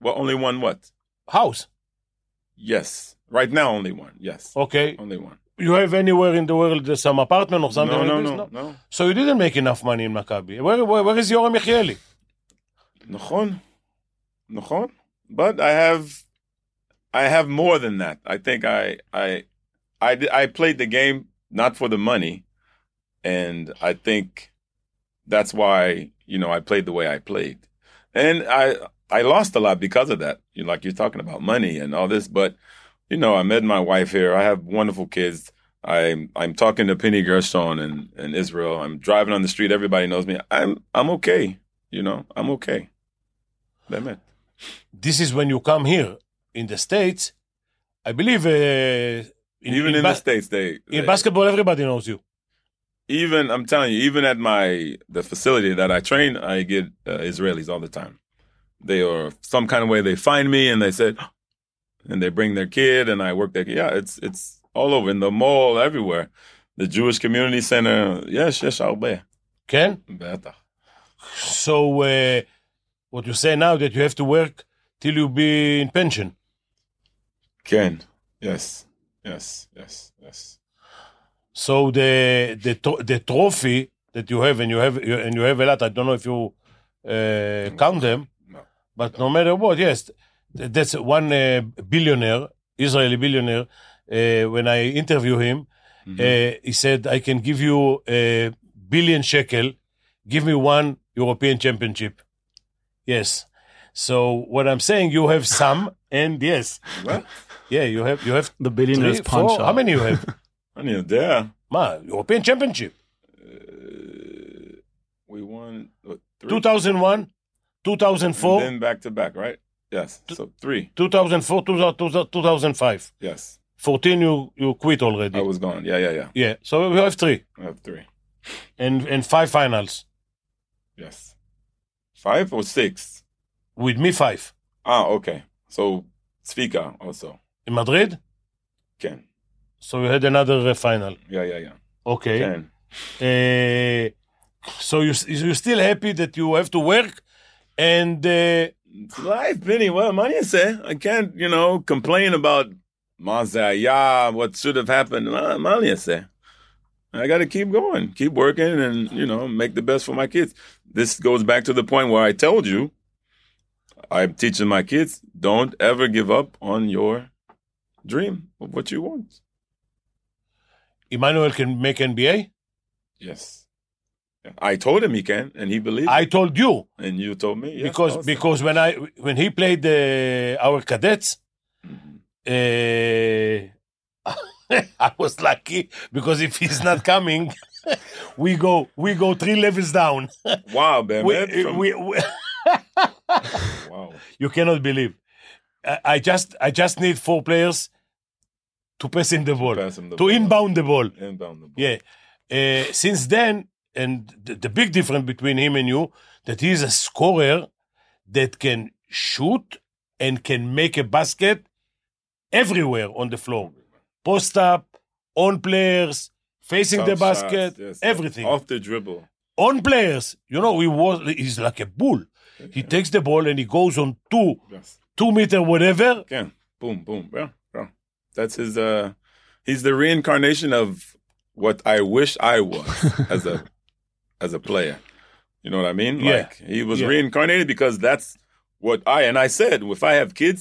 well, only one what?
house.
Yes, right now only one. Yes,
Okay.
only one.
You have anywhere in the world uh, some apartment or something?
No,
like
no,
this?
no, no.
So you didn't make enough money in Maccabi. Where, where, where is Yoram Michieli?
נכון, נכון. But I have, I have more than that. I think I, I, I, di- I played the game not for the money, and I think that's why you know I played the way I played, and I, I lost a lot because of that. You know, like you're talking about money and all this, but you know I met my wife here. I have wonderful kids. I'm I'm talking to Penny Gershon in, in Israel. I'm driving on the street. Everybody knows me. I'm I'm okay. You know, I'm okay. באמת.
This is when you come here in the States. I believe uh, in,
even in, the
bas-
states, they,
in
they-
basketball, everybody knows you.
Even I'm telling you, even at my the facility that I train, I get uh, Israelis all the time. They are some kind of way they find me and they said, and they bring their kid and I work there. Yeah, it's it's all over in the mall, everywhere, the Jewish community center. Yes, yes, הרבה.
Ken?
בטח.
So uh, what you say now that you have to work till you be in pension.
Ken. Yes. Yes. Yes. Yes.
So the the tro- the trophy that you have and you have you- and you have a lot. I don't know if you uh, count them,
No.
but no matter what, yes, th- that's one uh, billionaire, Israeli billionaire. Uh, when I interview him, uh, he said, "I can give you a billion shekel. Give me one European Championship." Yes. So what I'm saying, you have some, and yes,
What?
yeah, you have you have
The billionaires
three,
punch
four.
out.
How many you have?
אני יודע.
Ma, European Championship.
We won what, three?
2001,
And
2004,
Then back to back, right? Yes. So three.
2004, 2000, 2005.
Yes.
14, you, you quit already.
I was gone. Yeah, yeah, yeah.
yeah, so we have three
I have three.
and, and five finals.
Yes. Five or six?
With me, five.
Ah, okay. So Svika also.
In Madrid,
Ken.
so you had another uh, final.
Yeah, yeah, yeah.
Okay.
Ken.
Uh, so you, you're still happy that you have to work and uh,
It's life, Benny. What am I gonna say? I can't, you know, complain about Mazaya, what should have happened. What am I gonna say? I got to keep going, keep working, and you know, make the best for my kids. This goes back to the point where I told you, I'm teaching my kids: don't ever give up on your dream of what you want.
Emmanuel can make NBA.
Yes, I told him he can, and he believed.
I told you
it. and you told me yes,
because
also.
because when I when he played uh, our cadets,
Mhm.
Uh, I was lucky because if he's not coming, we go we go three levels down.
wow, man,
We- eh,
from-
we- we-
wow,
you cannot believe. I, I just I just need four players to pass him the ball,
Pass him the
to
ball.
inbound the ball.
inbound the ball.
Yeah. Uh, since then, and the, the big difference between him and you, that he's a scorer that can shoot and can make a basket everywhere on the floor. Post up, on players, facing the
Tough shots,
basket,
yes,
everything.
off the dribble.
On players, you know, he was he's like a bull. He takes the ball and he goes on two,
Yes.
two meter whatever,
Again, boom, boom, yeah, yeah. That's his. uh He's the reincarnation of what I wish I was as a as a player. You know what I mean?
Yeah.
Like he was
Yeah.
reincarnated because that's what I and I said. If I have kids,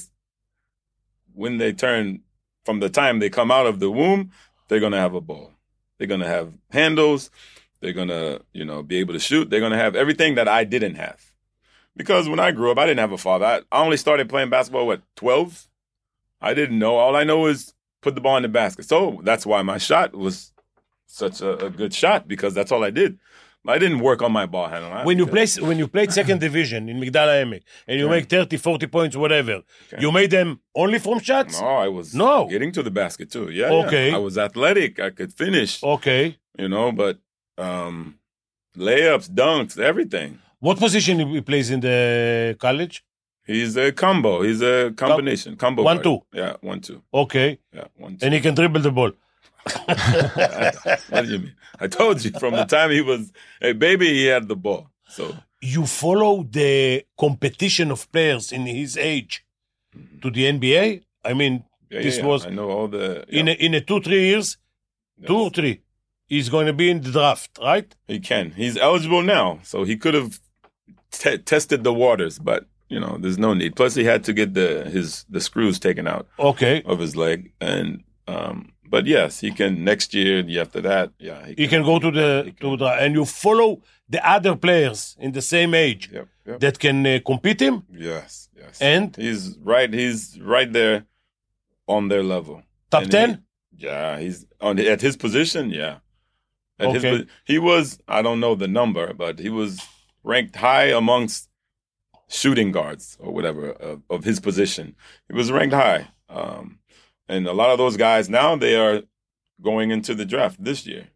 when they turn from the time they come out of the womb, they're gonna have a ball. They're gonna have handles. They're gonna, you know, be able to shoot. They're gonna have everything that I didn't have. Because when I grew up, I didn't have a father. I, I only started playing basketball at twelve. I didn't know. All I know is put the ball in the basket. So that's why my shot was such a, a good shot because that's all I did. I didn't work on my ball handle. I-
Uh, when you play when you played second division in Migdal Haemek and you
Okay.
make 30 40 points whatever
Okay.
you made them only from shots
no, I was
No.
getting to the basket too. Yeah,
Okay. Oh.
Yeah. I was athletic. I could finish.
okay
You know, but um layups, dunks, everything.
what position he plays in the college
He's a combo. He's a combination. Combo.
One,
guard.
two.
Yeah, one two.
okay
Yeah, one two.
and he can dribble the ball
what do you mean? I told you from the time he was a baby, he had the ball. So
You follow the competition of players in his age to the NBA? I mean,
yeah,
this
yeah, yeah.
was
I know all the.
in a, in a two three years,
yeah,
two or three, he's going to be in the draft, right?
He can. He's eligible now, so he could have te- tested the waters, but you know, there's no need. Plus, he had to get the his the screws taken out
Okay,
of his leg, and um, but yes, he can next year. The year after that, yeah,
he can go to
He
the
can.
to the and you follow the other players in the same age
Yep, yep.
that can uh, compete him.
yes, yes.
And
he's right. He's right there on their level.
Top
And
10?
he- yeah, he's on at his position. Yeah, at his
Okay.
po- he was. I don't know the number, but he was ranked high amongst shooting guards or whatever of, of his position. He was ranked high, um, and a lot of those guys now they are going into the draft this year.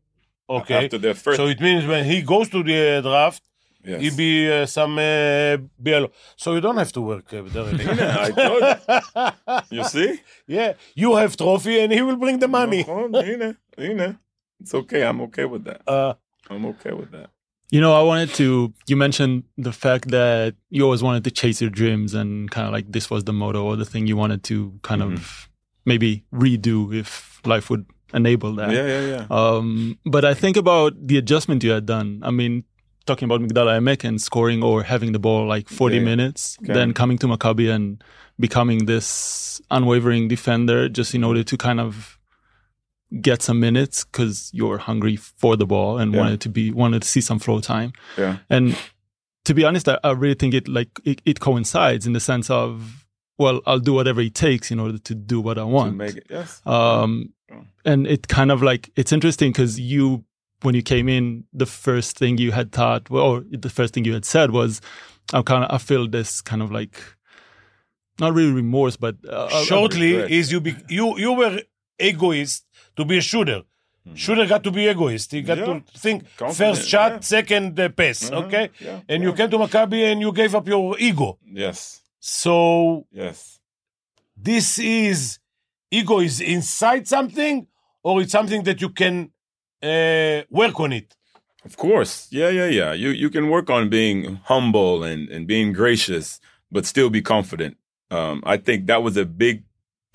okay,
after their first.
so it means when he goes to the uh, draft,
yes.
he be uh, some uh, BLO. So you don't have to work uh, directly.
yeah, I told you. You see.
yeah, you have trophy and he will bring the money.
Oh, Nina, Nina. It's okay. I'm okay with that.
Uh,
I'm okay with that.
You know, I wanted to. You mentioned the fact that you always wanted to chase your dreams, and kind of like this was the motto or the thing you wanted to kind of
Mm-hmm.
maybe redo if life would enable that.
Yeah, yeah, yeah.
Um, but I think about the adjustment you had done. I mean, talking about Migdala Emek and scoring or having the ball like 40
Yeah, yeah.
minutes,
Okay.
then coming to Maccabi and becoming this unwavering defender just in order to kind of get some minutes because you're hungry for the ball and
Yeah.
wanted to be wanted to see some flow time.
Yeah.
And to be honest, I, I really think it like it, it coincides in the sense of well, I'll do whatever it takes in order to do what I want
To make it, yes.
Uh,
um
Yeah.
and it kind of like it's interesting because you when you came in the first thing you had thought well, or the first thing you had said was i'm kind of i feel this kind of like not really remorse but uh,
shortly
regret.
is you be, you you were egoist to be a shooter. Shooter got to be egoist. He got
Mm-hmm. Yeah.
to think
Confident,
first shot,
yeah.
second uh, pass.
Mhm,
Okay,
yeah,
and you
yeah.
came to Maccabi and you gave up your ego.
Yes.
So
Yes.
this is ego is inside something, or it's something that you can uh, work on it.
Of course. Yeah, yeah, yeah. You you can work on being humble and, and being gracious, but still be confident. Um, I think that was a big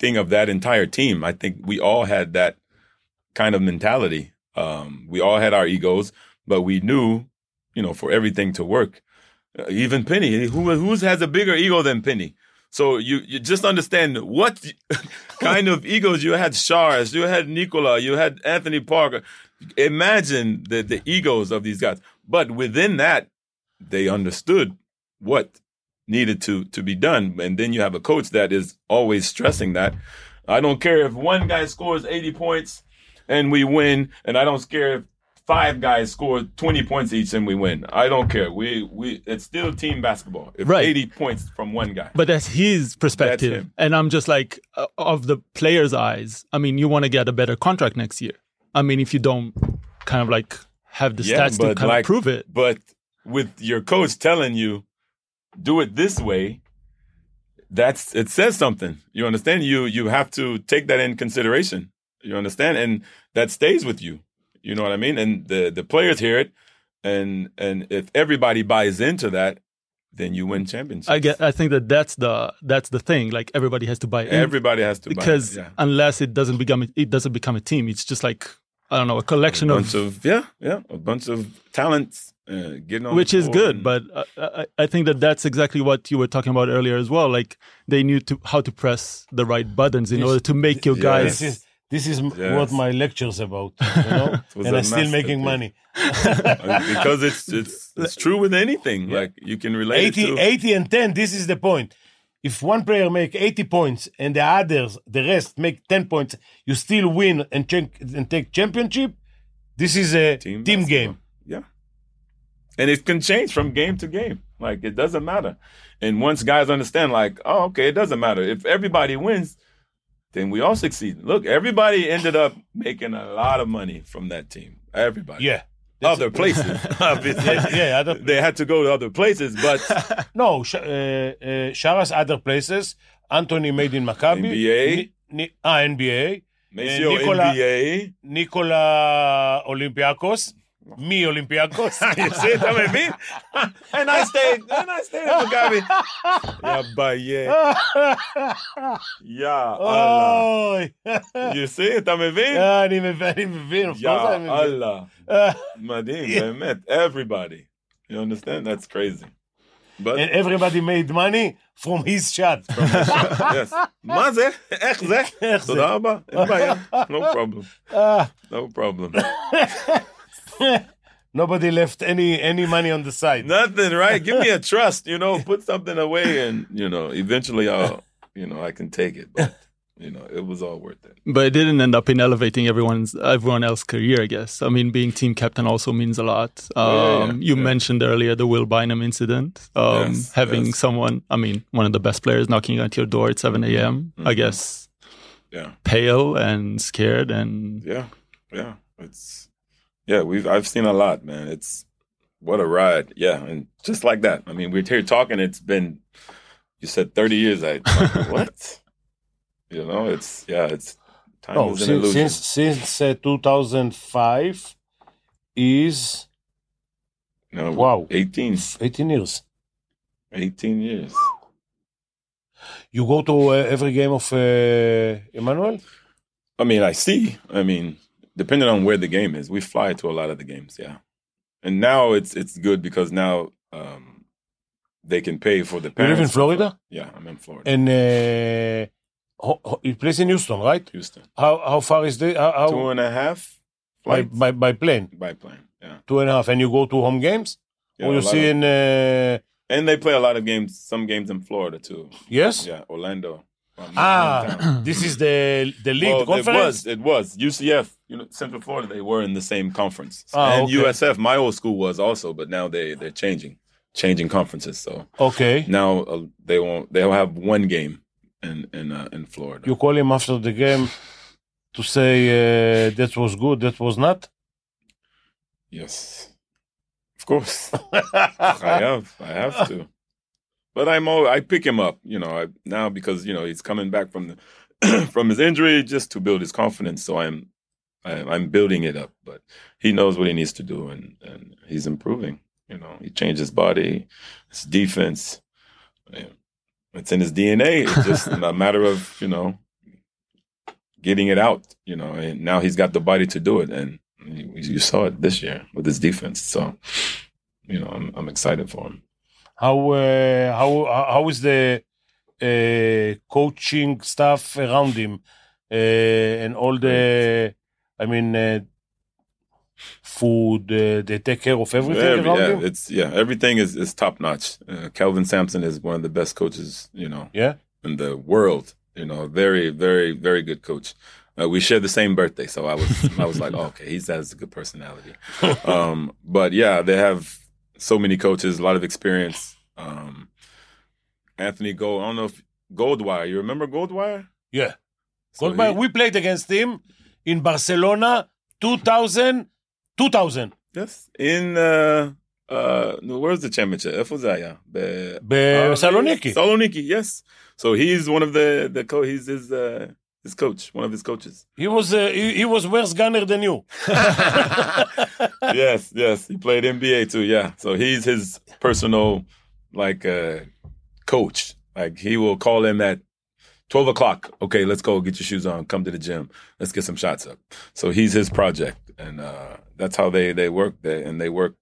thing of that entire team. I think we all had that kind of mentality. Um, we all had our egos, but we knew, you know, for everything to work. Uh, even Penny, who who's has a bigger ego than Penny? So you you just understand what kind of egos you had. Shars, you had Nicola, you had Anthony Parker. Imagine the the egos of these guys. But within that, they understood what needed to to be done. And then you have a coach that is always stressing that. I don't care if one guy scores 80 points and we win, and I don't care if five guys score 20 points each and we win. I don't care. We we it's still team basketball. If
Right.
80 points from one guy.
but that's his perspective
That's him.
and i'm just like uh, of the player's eyes i mean you want to get a better contract next year i mean if you don't kind of like have the stats to kind of prove it
But with your coach telling you, do it this way, that's it says something. You understand? You you have to take that in consideration. You understand? And that stays with you. You know what I mean? And the the players hear it, and and if everybody buys into that, then you win championships.
i get i think that that's the that's the thing like everybody has to buy in.
everybody has to buy
because
it. Yeah.
unless it doesn't become it doesn't become a team it's just like i don't know a collection
a
of,
bunch of yeah yeah a bunch of talents uh, getting on
which
the
is
floor
good
and-
but I, I, I think that that's exactly what you were talking about earlier as well like they knew to how to press the right buttons in
Yes.
order to make your
Yes.
guys
This is this is m
Yes.
what my lectures about, you know?
was
and
a
I'm still making
masterpiece.
money.
uh, because it's it's it's true with anything. Like you can relate
80,
it to
80 and 10 this is the point if one player make 80 points and the others the rest make 10 points you still win and, check, and take championship this is a team,
basketball.
game
Yeah, and it can change from game to game. Like it doesn't matter. And once guys understand, like, oh, okay, it doesn't matter if everybody wins, then we all succeed. Look, everybody ended up making a lot of money from that team. Everybody,
yeah
other places, obviously.
yeah other,
They had to go to other places, but
no Sh- uh, uh, Shara's other places Anthony made in Maccabi
NBA.
Ni- Ni- ah, NBA
Maceo
ניקולה-
NBA.
ניקולה אולימפיאקוס. מי אולימפיאקוס?
זה, אתה מבין? And I stayed, and I stayed in מכבי. יא ביי. יא
Oh.
אללה.
אוי,
You see, אתה מבין?
אה, אני מבין, אני מבין, of
יא
course אני מבין.
אללה.
אה,
מדהים, באמת. Everybody. You understand? That's crazy. But,
And everybody made money from his shot.
yes. מה זה? איך זה?
איך זה?
תודה רבה, אין בעיה. No problem.
אה,
No problem.
Nobody left any any money on the side.
Nothing, right? Give me a trust, you know, put something away and, you know, eventually I'll, you know, I can take it. But, you know, it was all worth it.
But it didn't end up in elevating everyone's everyone else's career, I guess. I mean, being team captain also means a lot. Um,
Oh, yeah, yeah,
you
yeah.
mentioned earlier the Will Bynum incident. Um,
Yes,
having
yes.
someone, I mean, one of the best players knocking at your door at 7 a.m., I
Mhm.
guess,
Yeah.
pale and scared. And
Yeah, yeah. It's yeah. We've I've seen a lot, man. It's what a ride. Yeah, and just like that. I mean, we're here talking. It's been you said thirty years. I like, what? You know, it's yeah. It's time
No,
is an
since
illusion.
Oh, since, since uh, 2005 is
no,
wow.
18,
18 years.
18 years.
You go to uh, every game of uh, Emmanuel?
I mean, I see. I mean, depending on where the game is, we fly to a lot of the games. Yeah, and now it's it's good because now um they can pay for the
You
parents.
live in Florida?
Yeah, I'm in Florida,
And uh, ho- ho- you place in Houston, right?
Houston.
How how far is the how,
Two
how
and a half
Oh. by,
flights.
by by plane?
by plane. Yeah.
Two and a half, and you go to home games?
yeah
or
a
Oh, you
lot
see
of-
in uh,
and they play a lot of games, some games in Florida too.
yes?
Yeah, Orlando. my- my hometown.
Ah, this is the the league the
Well,
conference.
It was, it was UCF, you know, Central Florida. They were in the same conference,
Ah,
and
okay.
USF. My old school was also, but now they they're changing, changing conferences. So
Okay.
now uh, they won't. They'll have one game in in uh, in Florida.
You call him after the game to say uh, that was good, that was not.
Yes, of course. I have, I have to. But I'm all, I pick him up, you know, I, now because you know he's coming back from the from his injury just to build his confidence. So I'm I, I'm building it up, but he knows what he needs to do and and he's improving. You know, he changed his body, his defense. Yeah. It's in his DNA. It's just a matter of you know getting it out. You know, and now he's got the body to do it, and you, you saw it this year with his defense. So you know, I'm I'm excited for him.
How uh, how how is the uh, coaching staff around him uh, and all the? I mean, uh, food. Uh, they take care of everything
Every-
around
yeah,
him.
it's yeah, everything is, is top notch. Uh, Kelvin Sampson is one of the best coaches, you know,
Yeah.
in the world. You know, very, very, very good coach. Uh, we share the same birthday, so I was I was like, oh, okay, he has a good personality. Um, but yeah, they have so many coaches, a lot of experience. Um, Anthony Gold, I don't know if Goldwire, you remember Goldwire?
Yeah.
So
Goldberg,
he-
we played against him in Barcelona, 2000, 2000.
yes, in uh, uh, no, where's the championship? איפה זה היה? ב-
Uh, Saloniki.
Saloniki, yes. So he's one of the the co- he's his uh, his coach, one of his coaches.
He was uh, he, he was worse gunner than you.
yes, yes, he played NBA too. Yeah, so he's his personal like uh, coach. Like he will call him at twelve o'clock. Okay, let's go get your shoes on. Come to the gym. Let's get some shots up. So he's his project, and uh, that's how they they work. They, and they work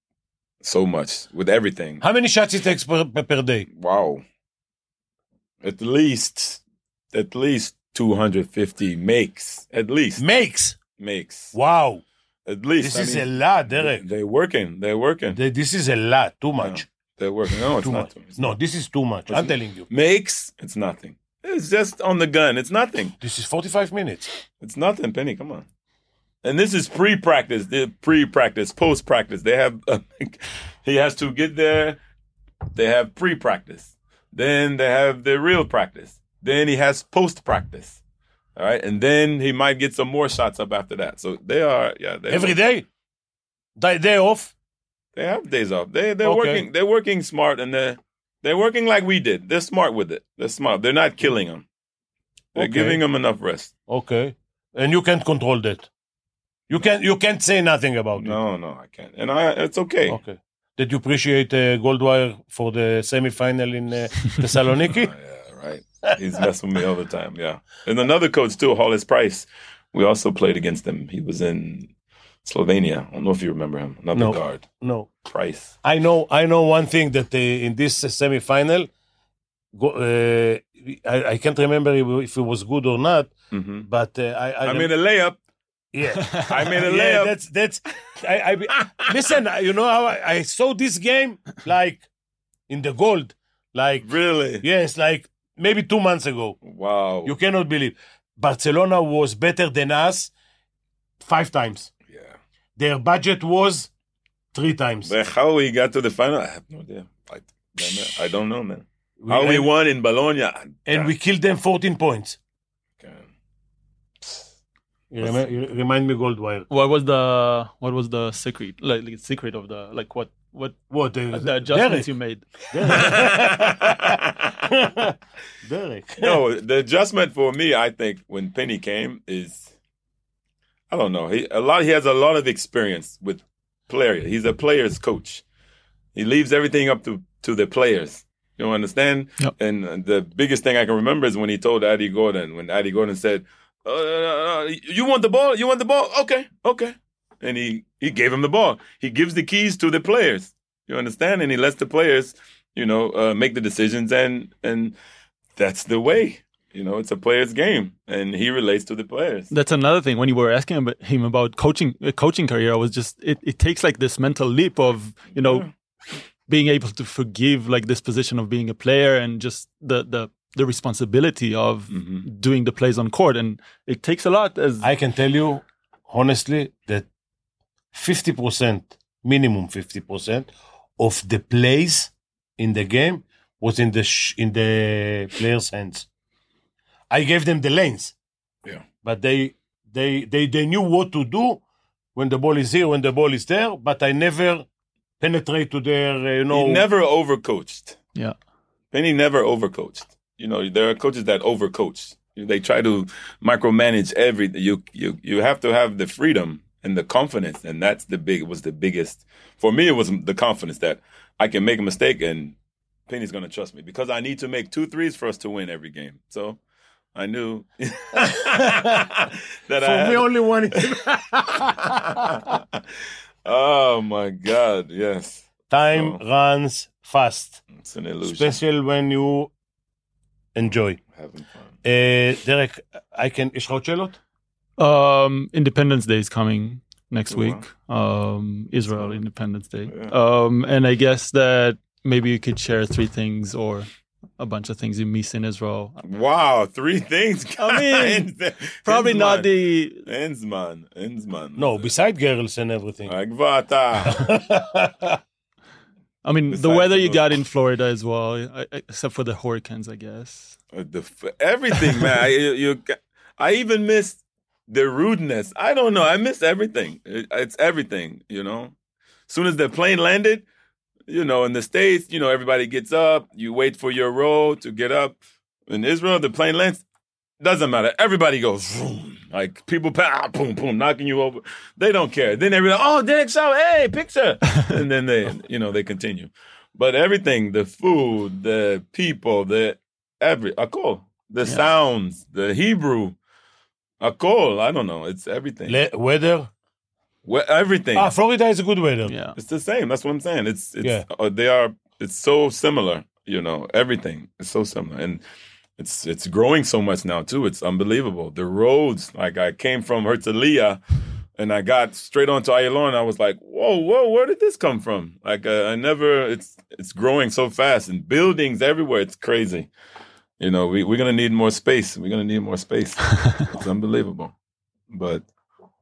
so much with everything.
How many shots he takes per, per, per day?
Wow. At least, at least 250 makes. At least
Makes.
makes.
Wow.
At least.
This
I
is
mean,
a lot,
they-
Derek.
They're working. They're working.
Th- This is a lot. Too much.
They're working. No, it's
too
not.
much. No, this is too much.
It's
I'm
not-
telling you.
Makes. It's nothing. It's just on the gun. It's nothing.
This is 45 minutes.
It's nothing, Penny. Come on. And this is pre-practice. They're pre-practice, post-practice. They have. he has to get there. They have pre-practice. Then they have the real practice. Then he has post-practice. All right, and then he might get some more shots up after that. So they are, yeah. They
Every day? Day, day off?
They have days off. They they're
Okay.
working. They're working smart, and they are they're working like we did. They're smart with it. They're smart. They're not killing them. They're
Okay.
giving them enough rest.
Okay. and you can't control that. You can you can't say nothing about it.
No, no, I can't. And I, it's okay.
Okay. Did you appreciate uh, Goldwire for the semifinal in uh, Thessaloniki?
Yeah, right. He's messing with me all the time. Yeah. And another coach too, Hollis Price. We also played against him. He was in Slovenia. I don't know if you remember him. Another
No.
guard,
no.
Price.
I know I know one thing that uh, in this uh, semifinal, go, uh, I, I can't remember if- if it was good or not,
hmm
but uh, I, I,
I made a layup.
yeah.
I made a
yeah,
layup.
that's that's. I, I listen. You know how I, I saw this game like in the gold, like
really?
yes, like maybe two months ago.
Wow.
You cannot believe Barcelona was better than us five times.
yeah.
Their budget was three times.
But how he got to the final, I have no idea. I, damn it, I don't know, man.
We-
How we
and-
won in Bologna.
and we killed them 14 points. You remi- you remind me Goldwire.
What was the what was the secret like, like secret of the like what what
What? Uh,
the adjustments you made?
Derek. Derek.
no, the adjustment for me, I think, when Penny came is, I don't know. He a lot. He has a lot of experience with player. He's a players' coach. He leaves everything up to to the players. You understand?
Yep.
And the biggest thing I can remember is when he told Addy Gordon. When Addy Gordon said, uh, uh, uh, "You want the ball? You want the ball? Okay, okay." And he he gave him the ball. He gives the keys to the players. You understand? And he lets the players, you know, uh, make the decisions and and that's the way. You know, it's a player's game, and he relates to the players.
That's another thing. When you were asking ab- him about coaching uh, coaching career, I was just it, it takes like this mental leap of you know being able to forgive like this position of being a player and just the the the responsibility of
Mhm.
doing the plays on court and it takes a lot as
I can tell you honestly that 50%, minimum 50% of the plays in the game was in the sh- in the players' hands. I gave them the lanes.
Yeah.
But they they they they knew what to do when the ball is here, when the ball is there, but I never penetrate to their uh, you know
He never overcoached.
Yeah.
Penny never overcoached. You know, there are coaches that overcoach. They try to micromanage everything. You you you have to have the freedom and the confidence, and that's the big was the biggest for me. It was the confidence that I can make a mistake and Penny's going to trust me because I need to make two threes for us to win every game. So I knew that I
for
had
me only one
oh my God! Yes,
time
So-
runs fast,
it's an illusion.
especially when you enjoy.
Having fun.
אה, דרק, I can, יש לך עוד שאלות?
um Independence Day is coming next
Oh, wow.
week um Israel Independence Day
Yeah.
um and I guess that maybe you could share three things or a bunch of things you miss in Israel
Wow, three things.
I mean, probably not the
Enzman, Enzman.
No, beside girls and everything.
Uh, Agvata.
I mean, the
Besides
weather
the
you
road.
got in Florida as well, I- I- except for the hurricanes, I guess.
the f- everything, man. I, you, you, I even missed the rudeness. I don't know. I missed everything. It- it's everything, you know. soon as the plane landed, you know, in the states, you know, everybody gets up. You wait for your row to get up. In Israel, the plane lands. Doesn't matter. Everybody goes vroom. like people, pa- ah, boom, boom, knocking you over. They don't care. Then everybody, oh, Derek Shaw, hey, picture, and then they, you know, they continue. But everything, the food, the people, the every, akol, the sounds, the Hebrew, akol. I don't know. It's everything.
Le- weather?
Wh- everything.
Ah, Florida is a good weather.
Yeah.
It's the same. That's what I'm saying. It's it's
Yeah.
uh, they are. It's so similar. You know, everything is so similar, and it's it's growing so much now too. It's unbelievable. The roads. Like I came from Herzliya, and I got straight onto Ayalon. I was like, whoa, whoa, where did this come from? Like uh, I never. It's it's growing so fast, and buildings everywhere. It's crazy. You know, we we're gonna need more space. We're gonna need more space. it's unbelievable, but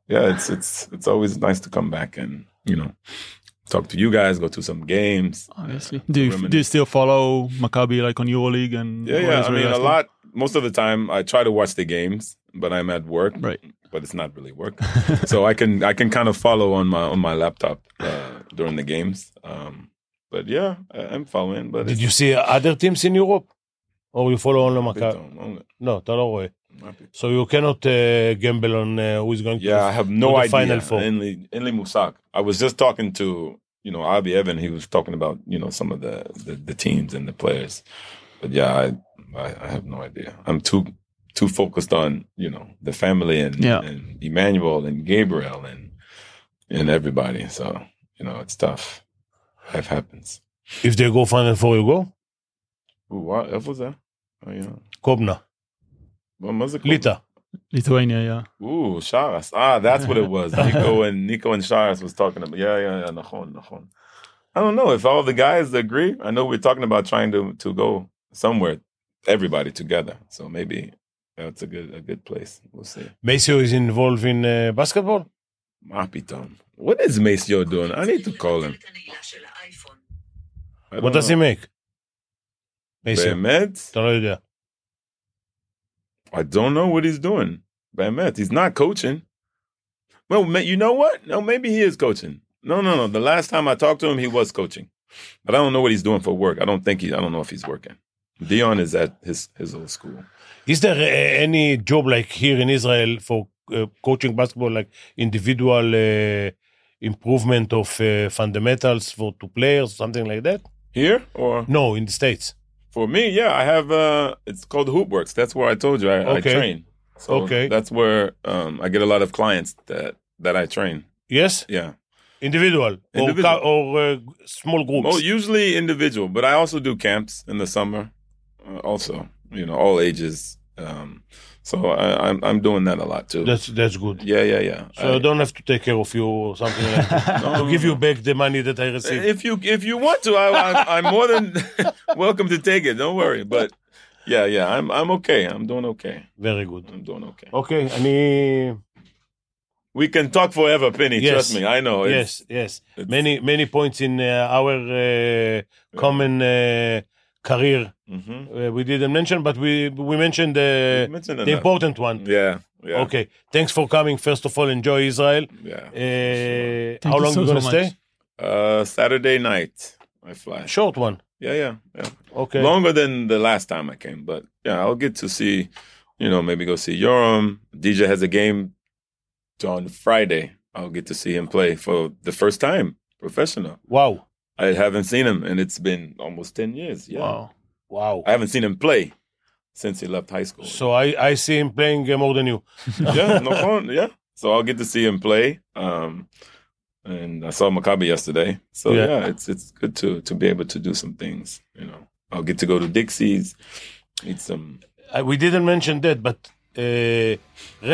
yeah, it's it's it's always nice to come back and you know talk to you guys, go to some games.
Obviously. Do you, do you still follow Maccabi like on EuroLeague and
Yeah,
or
yeah. I
Israeli
mean, a
wrestling?
lot. Most of the time, I try to watch the games, but I'm at work.
Right.
But it's not really work, so I can I can kind of follow on my on my laptop uh, during the games. Um, but yeah, I, I'm following. But
Did
it's
you see other teams in Europe? Or you follow only
a bit
Maccabi?
long- long-
לא, אתה לא רואה. So you cannot uh, gamble on uh, who is going
Yeah, I
to.
have no
the
idea.
Final Four.
Inley, Inley Musak. I was just talking to you know Avi Evan. He was talking about you know some of the the, the teams and the players. But yeah, I, I I have no idea. I'm too too focused on you know the family and
Yeah.
and Emmanuel and Gabriel and and everybody. So you know it's tough. Life happens.
If they go Final Four, you go?
Ooh, what what was that? Oh, yeah.
Kobna,
What was it called?
Lita.
Lithuania, yeah.
Ooh, Sharas. Ah, that's what it was. Nico and Nico and Sharas was talking about. Yeah, yeah, yeah. Nahon, Nahon. I don't know if all the guys agree. I know we're talking about trying to to go somewhere, everybody together. So maybe that's a good a good place. We'll see.
Maceo is involved in uh, basketball?
Mapitom. What is Maceo doing? I need to call him. I
What
don't
does he
know.
make? Maceo.
Behemet?
אתה לא יודע.
I don't know what he's doing. Behemet. He's not coaching. Well, ma- you know what? No, maybe he is coaching. No, no, no. The last time I talked to him, he was coaching. But I don't know what he's doing for work. I don't think he. I don't know if he's working. Dion is at his his old school.
Is there uh, any job like here in Israel for uh, coaching basketball, like individual uh, improvement of uh, fundamentals for two players, something like that?
Here or
No, in the States.
for me, yeah, I have. uh It's called Hoopworks. That's where I told you I,
Okay.
I train. So
Okay.
That's where um, I get a lot of clients that that I train.
Yes,
Yeah.
individual,
Individual.
or, co- or uh, small groups.
Well, usually individual, but I also do camps in the summer, uh, also. You know, all ages. Um, so I, I'm I'm doing that a lot too.
That's that's good.
yeah, yeah, yeah.
So I,
I-
don't have to take care of you or something like that.
No,
I'll
no,
give
no.
you back the money that I received.
if you if you want to, I, I, I'm more than welcome to take it. Don't worry. But yeah, yeah, I'm I'm okay. I'm doing okay.
Very good.
I'm doing okay.
אוקיי, אני...
We can talk forever, Penny.
Yes.
Trust me. I know. It's-
yes, yes.
it's-
Many, many points in uh, our uh, common uh, career
Mhm.
uh, we didn't mention, but we we mentioned
You
the,
mentioned
Uh, the
enough.
important one.
Yeah. Yeah.
Okay, thanks for coming. First of all, enjoy Israel.
Yeah.
Uh,
Thank
how
you
long
so,
you gonna
so
stay?
much.
Uh, Saturday night, I fly.
Short one.
Yeah, yeah, yeah.
Okay.
Longer than the last time I came, but yeah, I'll get to see, you know, maybe go see Yoram. DJ has a game on Friday. I'll get to see him play for the first time, professional.
Wow.
I haven't seen him, and it's been almost ten years. Yeah,
Wow.
Wow.
I haven't seen him play since he left high school.
So I I see him playing uh, more than you.
yeah, no fun. Yeah, so I'll get to see him play. Um, and I saw Maccabi yesterday, so
Yeah.
yeah. it's it's good to to be able to do some things. You know, I'll get to go to Dixie's, eat some.
Uh, we didn't mention that, but uh,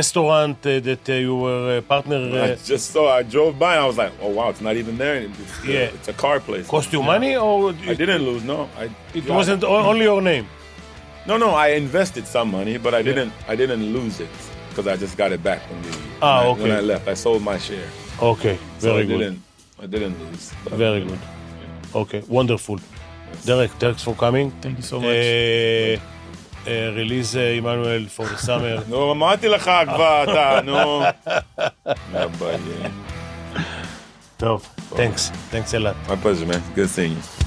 restaurant uh, that uh, you were uh, partner
I
uh,
just saw. I drove by. and I was like, oh wow, it's not even there. anymore. It's, the-
Yeah.
it's a car place.
cost you money or
I
it,
didn't lose. No, I.
it
yeah,
wasn't o- only your name?
No, no, I invested some money, but I didn't. I didn't lose it because I just got it back when, we,
Ah,
when I-
okay.
when I left. I sold my share,
Okay,
so
very
I
good.
didn't. I didn't lose. But,
Very
you know,
good.
you know,
Okay, wonderful. Derek, thanks for coming.
Thank you so much.
Uh, uh, release uh, Emmanuel for the summer.
נו, אמרתי לך כבר, אתה, נו. יא ביי.
טוב, thanks, thanks a lot.
My pleasure, man. Good seeing you.